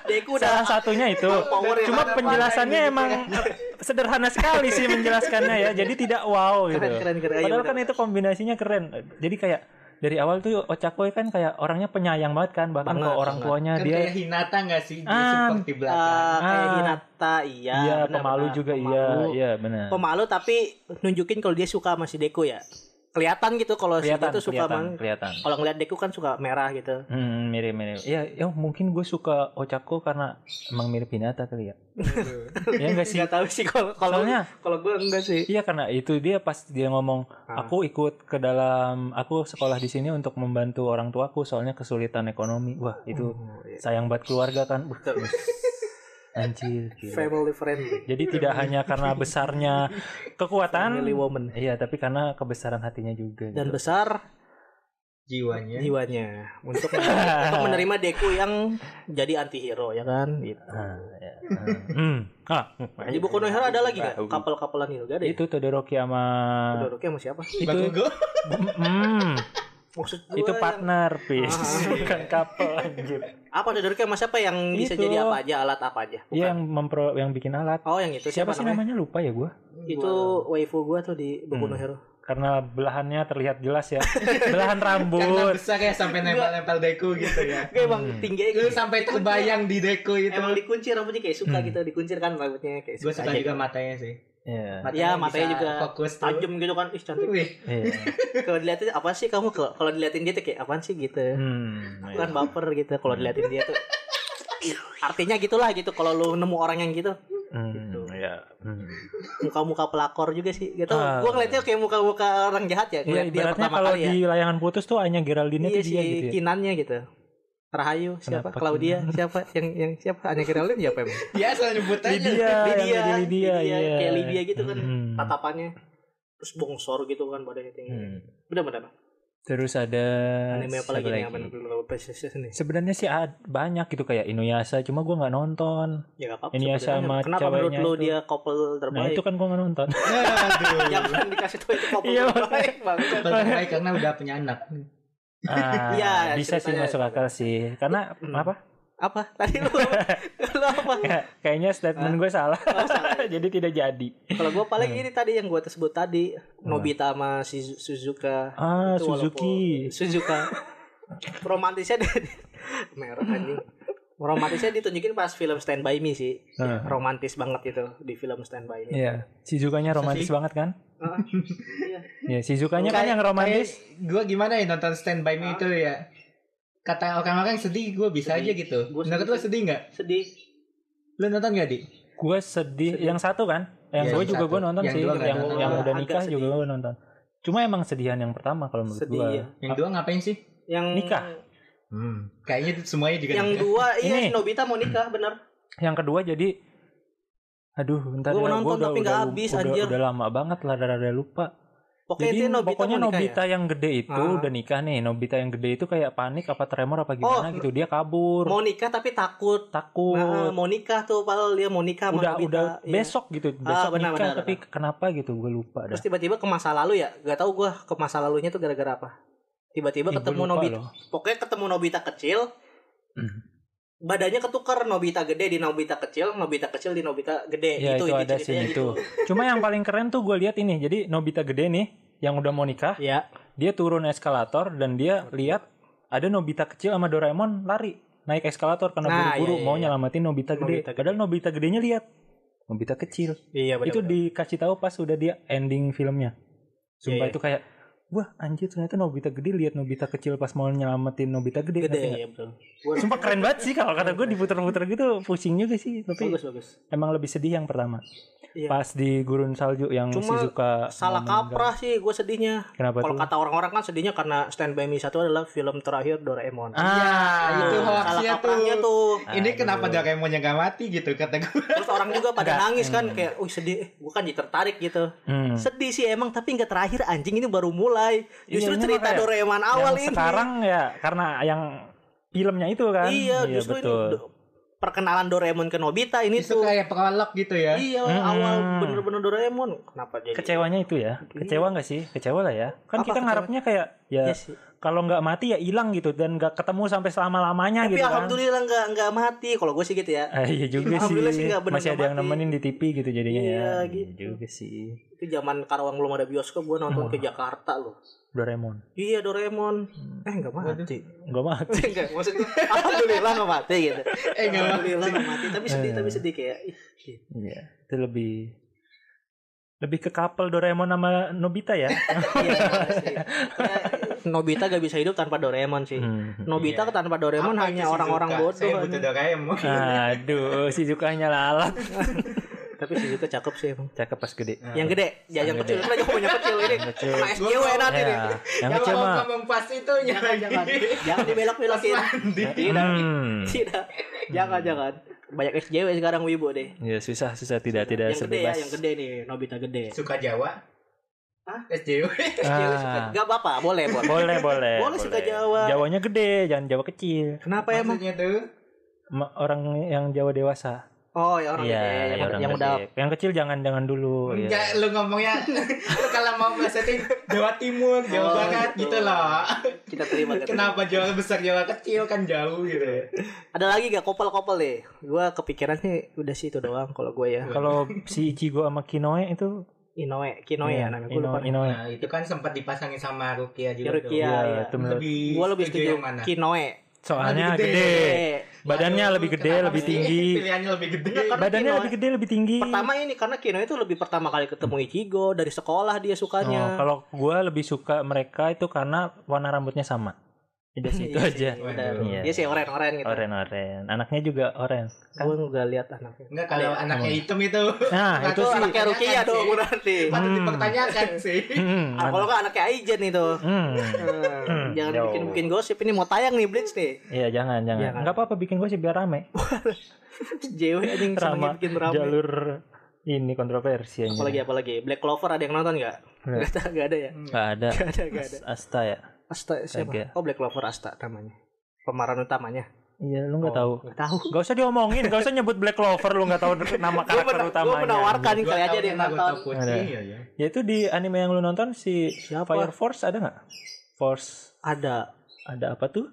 Deku udah Salah satunya itu. power ya. Cuma Mana- penjelasannya ini emang gitu ya. sederhana sekali sih menjelaskannya ya. Jadi tidak wow gitu. Keren keren keren. Iya, Padahal kan bener. itu kombinasinya keren. Jadi kayak dari awal tuh Ochako kan kayak orangnya penyayang banget kan. Bahkan Banget, ke orang banget. tuanya Kan dia kayak Hinata nggak sih? Dia Ah, support di belakang. Ah, kayak Ah. Hinata iya. iya benar, pemalu benar. juga Pemalu. iya. Iya benar. Pemalu tapi nunjukin kalau dia suka sama si Deku ya. kelihatan gitu kalau si kelihatan dia tuh suka kelihatan man kelihatan kalau ngeliat Deku kan suka merah gitu Hmm, mirip mirip. Ya, ya mungkin gue suka Ochako karena emang mirip Hinata kali ya. Ya enggak sih. nggak tahu sih kalau kalau Soalnya kalau gue enggak sih iya karena itu dia pas dia ngomong Ah. aku ikut ke dalam aku sekolah di sini untuk membantu orang tuaku soalnya kesulitan ekonomi. Wah, itu Oh, iya. sayang buat keluarga kan. Wah, Betul. Anjir. gila. family friendly Jadi tidak hanya karena besarnya kekuatan family woman Iya, tapi karena kebesaran hatinya juga. gitu. dan besar Ya. jiwanya Iya, jiwanya untuk untuk menerima Deku yang jadi anti hero ya kan gitu. Ah, ya. Ah. Hmm. Ah, Di buku no hero ada lagi gak? Kapal-kapalan hero gak ada ya? iya, itu ah. Todoroki sama Todoroki sama siapa? itu Bakugo Hmm, Maksud gua itu yang- partner pis Ah. bukan couple anjir Iya, Apa Todoroki sama siapa yang bisa Itu. jadi apa aja, alat apa aja? Iya, yang mempro yang bikin alat Oh yang itu siapa, siapa, sih namanya? namanya? lupa ya gua Itu waifu gua tuh di buku no Hmm. hero karena belahannya terlihat jelas ya belahan karena rambut besar ya sampai nempel-nempel deku gitu ya Kayak emang Hmm. tinggi lu gitu sampai terbayang di deku itu Emang dikunci rambutnya kayak suka Hmm. gitu Dikuncir kan rambutnya kayak gue suka aja. juga matanya sih Iya, Iya, matanya bisa juga fokus tuh. Tajam gitu kan Ih cantik Wih, iya. Kalau diliatin apa sih kamu Kalau kalau diliatin dia tuh kayak apaan sih gitu Hmm, Bukan baper gitu Kalau diliatin dia tuh Ih, Artinya gitulah gitu Kalau lu nemu orang yang gitu hmm, iya. Hmm. muka-muka pelakor juga sih gitu Ah. gua ngeliatnya kayak muka-muka orang jahat Iya, ya ngeliat dia ibaratnya pertama kalau kali ya di layangan putus tuh hanya Geraldine iya itu si dia gitu ya. kinannya gitu Rahayu siapa Kenapa Claudia siapa yang yang siapa hanya Geraldine siapa emang Hmm. dia asal nyebut aja. Lydia, Lydia, yang jadi Lydia, Lydia, iya. kayak Lydia gitu kan, Hmm. tatapannya terus bongsor gitu kan badannya tinggi Hmm. bener-bener Terus ada anime apa lagi siapa nih apa nih Belum apa sih sih nih Sebenarnya sih ad- banyak gitu kayak Inuyasha, cuma gua nggak nonton. ya gak apa-apa Ini ya sebenarnya. sama kenapa menurut ceweknya lu itu. dia couple Nah, terbaik itu kan gua nggak nonton. Aduh. jangan dikasih tahu itu couple Iya, terbaik banget Baik karena udah punya anak. Ah, Iya, bisa sih ceritanya. masuk akal sih. Karena Hmm. apa? apa tadi lu lu apa Kayak- Kayaknya statement gue salah. Oh, salah. Jadi tidak jadi. Kalau gue paling Iya. ini tadi yang gue sebut tadi Nobita sama Shizu- Suzuka. Ah, Itu Suzuki. walaupun- Suzuka. Romantisnya dia merah anjing. Romantisnya ditunjukin pas film Stand By Me sih. Heeh. Romantis banget itu di film Stand By Me. Ah. Iya. Shizukanya romantis sih? banget kan? Heeh. Iya. Iya, Shizukanya kan yang romantis. Gue gimana ya nonton Stand By Me itu ya? Kata orang-orang sedih, gue bisa Sedih. aja gitu. Gua Menurut sedih. lo sedih nggak? Sedih. Lo nonton nggak di? Gue sedih. Sedih. Yang satu kan? Yang Iya, gue yang juga satu. gue nonton Yang sih. dua Yang nggak yang, nonton. Ah, udah agak nikah juga sedih. gue nonton. Cuma emang sedihan yang pertama kalau menurut Sedih, gue. iya. Yang dua ngapain sih? Yang Nikah. Hmm. Kayaknya tuh semuanya juga. Yang nikah. dua iya Ini. si Nobita mau nikah bener. Yang kedua jadi Aduh, bentar Gua ya, gua nonton udah, tapi nggak udah, habis, udah, anjir. udah lama banget lah, rada-rada lupa. Pokoknya Jadi itu Nobita pokoknya mau nikah Nobita ya? yang gede itu Ah. udah nikah nih. Nobita yang gede itu kayak panik apa tremor apa gimana Oh, gitu. Dia kabur, Mau nikah tapi takut. takut. Nah, mau nikah tuh padahal dia mau nikah sama udah Nobita. udah Iya. besok gitu, Ah, besok benar, nikah benar, tapi kenapa gitu gue lupa dah. Terus tiba-tiba ke masa lalu ya, nggak tahu gua ke masa lalunya tuh gara-gara apa. Ih, Tiba-tiba gua ketemu lupa Nobita. loh. Pokoknya ketemu Nobita kecil. Hmm. Badannya ketukar Nobita gede di Nobita kecil, Nobita kecil di Nobita gede. Ya, itu inti ada ceritanya gitu. scene itu. Cuma yang paling keren tuh gue lihat ini. Jadi Nobita gede nih yang udah mau nikah, Ya, dia turun eskalator dan dia lihat ada Nobita kecil sama Doraemon lari naik eskalator karena Nah, buru-buru iya, iya, mau iya. nyelamatin Nobita gede. Nobita gede. Padahal Nobita gedenya lihat Nobita kecil. iya benar. itu dikasih tahu pas udah dia ending filmnya. Sumpah Iya, iya. itu kayak wah anjir ternyata Nobita gede lihat Nobita kecil pas mau nyelamatin Nobita gede. gede ngerti nggak? ya betul. Gua- Sumpah keren banget sih kalau kata gue diputer-puter gitu pusing juga sih tapi bagus bagus. emang lebih sedih yang pertama. Iya. Pas di gurun salju yang Cuma Shizuka Salah mau meninggal. kaprah sih gue sedihnya. Kenapa Kalau tuh? kata orang-orang kan sedihnya karena Stand By Me satu adalah film terakhir Doraemon. Ah, itu Nah, salah hoaxnya tuh. kaprahnya tuh. Ini Aduh. kenapa Doraemonnya nggak mati gitu kata gue. Terus orang juga pada Enggak. nangis kan Hmm. kayak, "Uh, sedih." Gue kan jadi tertarik gitu. Hmm. Sedih sih emang tapi nggak terakhir anjing ini baru mulai. Iya, Justru ini cerita makanya. Doraemon Yang awal ini. sekarang ya karena yang filmnya itu kan. iya, justru ini betul. do- perkenalan Doraemon ke Nobita ini Itu tuh. kayak prolog gitu ya. Iya, Hmm. awal bener-bener Doraemon. Kenapa jadi? Kecewanya itu ya. Kecewa nggak sih? Kecewa lah ya. Kan Iya. Apa kita kecewa? ngarepnya kayak ya Iya sih. kalau nggak mati ya hilang gitu dan nggak ketemu sampai selama lamanya Tapi gitu kan. alhamdulillah nggak nggak mati. Kalau gue sih gitu ya. Ah, iya juga sih. Alhamdulillah sih nggak bener Masih ada yang mati. nemenin di TV gitu jadinya Iya, ya. gitu. Iya juga sih. Itu zaman Karawang belum ada bioskop, gue Hmm. nonton ke Jakarta loh. Doraemon. Iya Doraemon. Eh nggak mati. Gak mati. Enggak, maksud gue alhamdulillah nggak mati gitu. Eh Eh. nggak mati. gitu. alhamdulillah nggak mati. Tapi sedih, tapi sedih kayak. ih, Iya. Itu lebih Lebih ke couple Doraemon sama Nobita ya. Iya, sih. Ya, Nobita gak bisa hidup tanpa Doraemon sih. Hmm. Nobita Iya. tanpa Doraemon Apa hanya itu orang-orang Shizuka? bodoh. Saya butuh anjing. Doraemon. Aduh, si Zukanya lalat. Tapi Shizuka cakep sih emang. Cakep pas gede. Nah. Yang gede, ya yang Yang kecil. gede. Kita juga punya kecil ini. Yang kecil. Sama SJW nanti nih. Ya, yang Jangan kecil mah. ngomong pas itu Jangan, jangan. Jangan dibelok-belokin. Tidak, Hmm. tidak. Jangan, jangan. Banyak SJW sekarang Wibu deh. Ya susah susah tidak tidak yang gede ya, sebebas. yang gede nih, Nobita gede. Suka Jawa. Hah? SJW. SJW suka, Ah, gak apa-apa, boleh, boleh. boleh boleh. Boleh suka Jawa. Jawanya gede, jangan Jawa kecil. Kenapa emang? Maksudnya tuh Ma- Orang yang Jawa dewasa. Oh, ya orang gede, Iya, yang, Hmm, orang yang gede. udah Yang kecil jangan jangan Oh, dulu. iya. ya. Enggak, lu ngomongnya lu kalau mau melesetin Jawa Timur, Jawa Oh, Barat gitu. gitu loh. kita terima. kita terima. Kenapa Jawa besar, Jawa kecil kan jauh gitu ya. Ada lagi gak kopel-kopel deh? Gua kepikiran sih udah sih itu doang kalau gue ya. Kalau si Ichigo sama Kinoe itu Inoue, Kinoe Iya, ya namanya. Gue lupa. Ino- Inoue. Nah, itu kan sempat dipasangin sama Rukia juga. tuh. Rukia. Iya, iya. itu menurut- Lebih Gue lebih yang setuju mana? Kinoe. Soalnya Lebih gede. gede. Eh, Badannya Aduh, lebih gede, kenapa lebih sih tinggi. Pilihannya lebih gede. Enggak, kan- karena Badannya Kinoe- lebih gede, lebih tinggi. Pertama ini karena Kinoe itu lebih pertama kali ketemu Ichigo dari sekolah dia Oh, sukanya. kalau gue lebih suka mereka itu karena warna rambutnya sama. Udah sih itu Iya gitu aja. sih, benar. Iya. Dia sih oren-oren gitu. Oren oren. Anaknya juga oren. Gue nggak lihat anaknya. Enggak kalau Iya. anaknya Iya. hitam Nah, itu Nah Nah, itu Itu sih- anaknya Rukia Pertanyaan dong sih. nanti. patut Hmm. dipertanyakan sih. Hmm, Ah, kalau nggak anaknya Aijen itu. hmm. Hmm, jangan Yo. bikin bikin gosip ini mau tayang nih Blitz nih. Iya jangan jangan. Jangan. Enggak apa-apa bikin gue sih biar rame. JW anjing senengnya Drama, bikin rame. Jalur ini kontroversi aja. Apalagi apalagi Black Clover ada yang nonton nggak? Nggak. Nggak ada- nggak ada ya. Gak ada. Nggak ada nggak ada. Asta ya. Asta siapa? Kagak. Oh Black Clover Asta namanya. Pemeran utamanya. Iya lu nggak Oh, tahu. Nggak tahu. Gak usah diomongin, gak usah nyebut Black Clover lu gak tahu nama Gue karakter utamanya. menawarkan kali aja dia nonton. nonton. Ada. Iya, iya. Ya itu di anime yang lu nonton si Siapa? Fire Force ada nggak? Force Ada. ada apa tuh?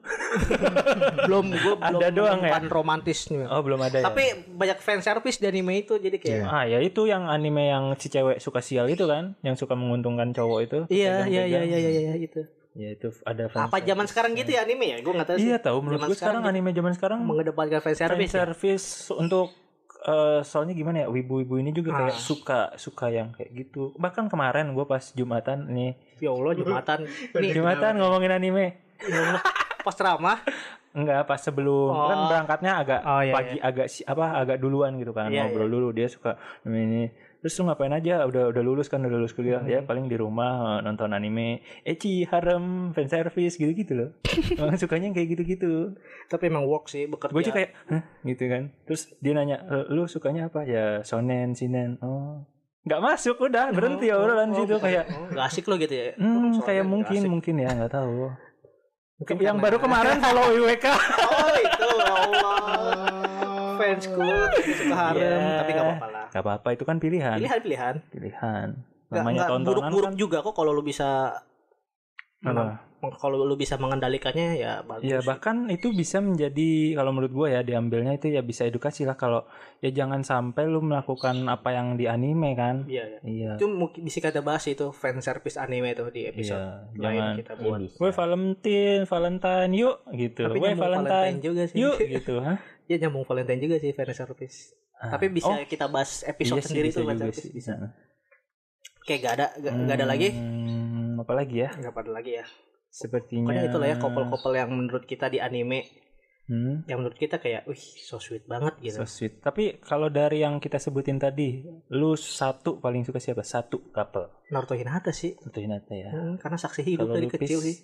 Belum gue belum Ada doang ya? menemukan romantisnya. Oh belum ada ya. Tapi banyak fan service di anime itu jadi kayak ah ya itu yang anime yang si cewek suka sial itu kan, yang suka menguntungkan cowok itu. Iya, iya, iya, iya, Pegang-pegang. iya, iya, gitu. Ya itu ada fans. Apa zaman sekarang gitu ya anime ya? Gue nggak tahu sih. Iya tahu menurut Zaman gue sekarang sekarang anime zaman sekarang Mengedepankan fan fan service. ya? service untuk eh, soalnya gimana ya wibu-wibu ini juga Ah. kayak suka suka yang kayak gitu. Bahkan kemarin gue pas Jumatan nih, Ya Allah, jumatan. Nih, Jumatan ngomongin anime. ya Allah, pas ceramah. Enggak, pas sebelum Oh. kan berangkatnya agak Oh, iya, pagi agak si- apa agak duluan gitu kan. Iya, Ngobrol dulu dia suka ini, ini. Terus lu ngapain aja? Udah udah lulus kan, udah lulus Hmm. kuliah ya, paling di rumah eh, nonton anime, ecchi, harem, fan service gitu-gitu loh. Orang sukanya yang kayak gitu-gitu. Tapi emang work sih bekerja. Gue juga kayak, "Hah?" gitu kan. Terus dia nanya, "Eh, "Lu sukanya apa?" Ya shonen, shinen. Oh. Enggak masuk udah, berhenti ya Oh, obrolan situ kayak Gak asik lo gitu ya. Hmm, Soalnya kayak gak mungkin asik. mungkin ya nggak tahu. Mungkin yang karena- ya. baru kemarin E follow IWK. Oh, itu ya Allah. Fansku suka harem, Iya. tapi gak apa-apa lah. Gak apa-apa itu kan pilihan. Pilihan-pilihan. pilihan Gak, namanya gak tontonan buruk-buruk kan juga kok kalau lu bisa apa? kalau lu bisa mengendalikannya ya bagus. ya bahkan itu bisa menjadi kalau menurut gue ya diambilnya itu ya bisa edukasi lah kalau ya jangan sampai lu melakukan apa yang di anime kan Iya, iya. iya Itu mungkin bisa kita bahas itu fan service anime itu di episode iya lain jangan kita buat. Woi Valentine, Valentine yuk gitu. Tapi Woi nyambung Valentine Valentine, juga sih. yuk gitu. Hah? Iya nyambung Valentine juga sih fan service. Tapi bisa oh, kita bahas episode iya sih, sendiri bisa tuh fan juga service sih. bisa. Kayak gak ada gak, gak ada Hmm, lagi. apa lagi ya? Gak ada lagi ya. Sepertinya Pokoknya itulah ya kopel-kopel yang menurut kita di anime Hmm. yang menurut kita kayak wih so sweet banget gitu. So sweet. Tapi kalau dari yang kita sebutin tadi, lu satu paling suka siapa? Satu couple. Naruto Hinata sih. Satu Hinata ya. Hmm, karena saksi hidup Kalau dari Lupis- kecil sih.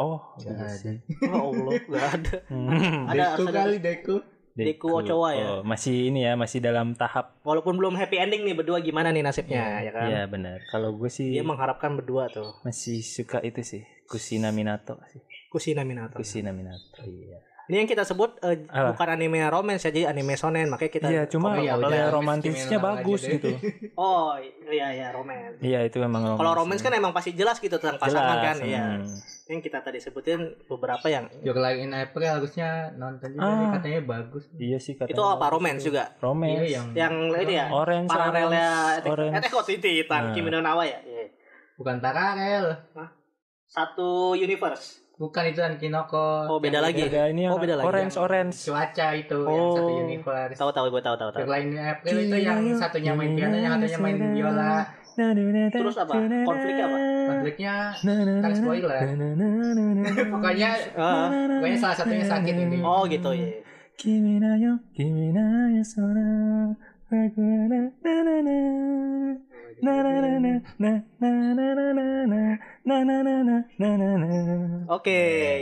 Oh, Nggak iya ada. sih. Oh Allah, gak ada. Hmm. Ada Deku ada- kali Deku. Deku Ochoa ya? Oh, masih ini ya, masih dalam tahap. Walaupun belum happy ending nih berdua gimana nih nasibnya ya kan? Iya benar. Kalau gue sih Dia mengharapkan berdua tuh. masih suka itu sih, Kusina Minato sih. Kusina Minato. Kusina Minato. Iya. Ini yang kita sebut eh, Apa? bukan anime romance ya, jadi anime shonen. Makanya kita Iya, cuma komen. ya udah, oleh Miss romantisnya Kimeno aja bagus deh. gitu. Oh, iya iya romance. Iya, itu memang Kalau romance kan emang pasti jelas gitu tentang pasangan kan, jelas. iya. hmm. Yang kita tadi sebutin beberapa yang Juga lagi in April harusnya nonton juga Ah. nih, katanya bagus. Iya sih katanya. itu apa romance juga. Romance. Iya yang Yang itu ya Orange, paralelnya orange, orange. Attack on Titan Nah. iya. Kimi no Na wa ya. Iya. bukan paralel. Satu universe. Bukan itu Kinoko. Oh, beda lagi. Ada ini yang Oh, beda lagi. orange orange. Cuaca itu yang satu Oh. universe. Tahu tahu gue tahu tahu tahu. Yang lainnya April itu yang satunya main piano, yang satunya main biola. Terus apa? Konfliknya apa? Konfliknya Ntar Kan spoiler. pokoknya Ah, pokoknya salah satunya sakit ini. oh gitu ya. Kimi na yo, kimi na yo sora, aku na na na na na na na na na na na na na na na na na na na. Oke,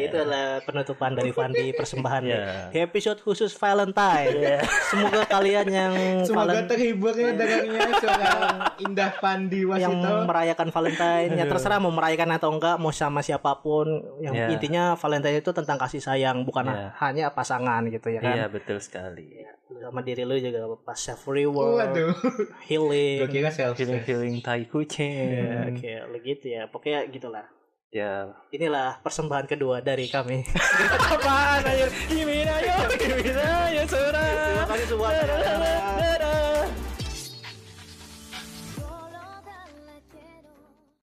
itulah penutupan dari Fandi persembahan nih. Ya. Di episode khusus Valentine. Ya. Semoga kalian yang Semoga valen- terhibur ya dengarnya seorang Indah Pandi yang Wasito. merayakan Valentine, ya Aduh. terserah mau merayakan atau enggak, mau sama siapapun. Yang Ya. intinya Valentine itu tentang kasih sayang, bukan Ya. hanya pasangan gitu ya kan. Iya betul sekali. Sama diri lu juga pas self reward, Waduh. Gue healing. kira self Feeling feeling tai Ya, kucing. Oke, begitu ya. Pokoknya gitulah. Ya. Inilah persembahan kedua dari kami. Iya. Apaan aja? Kimi na yo, kimi na yo sora. Terima kasih semua.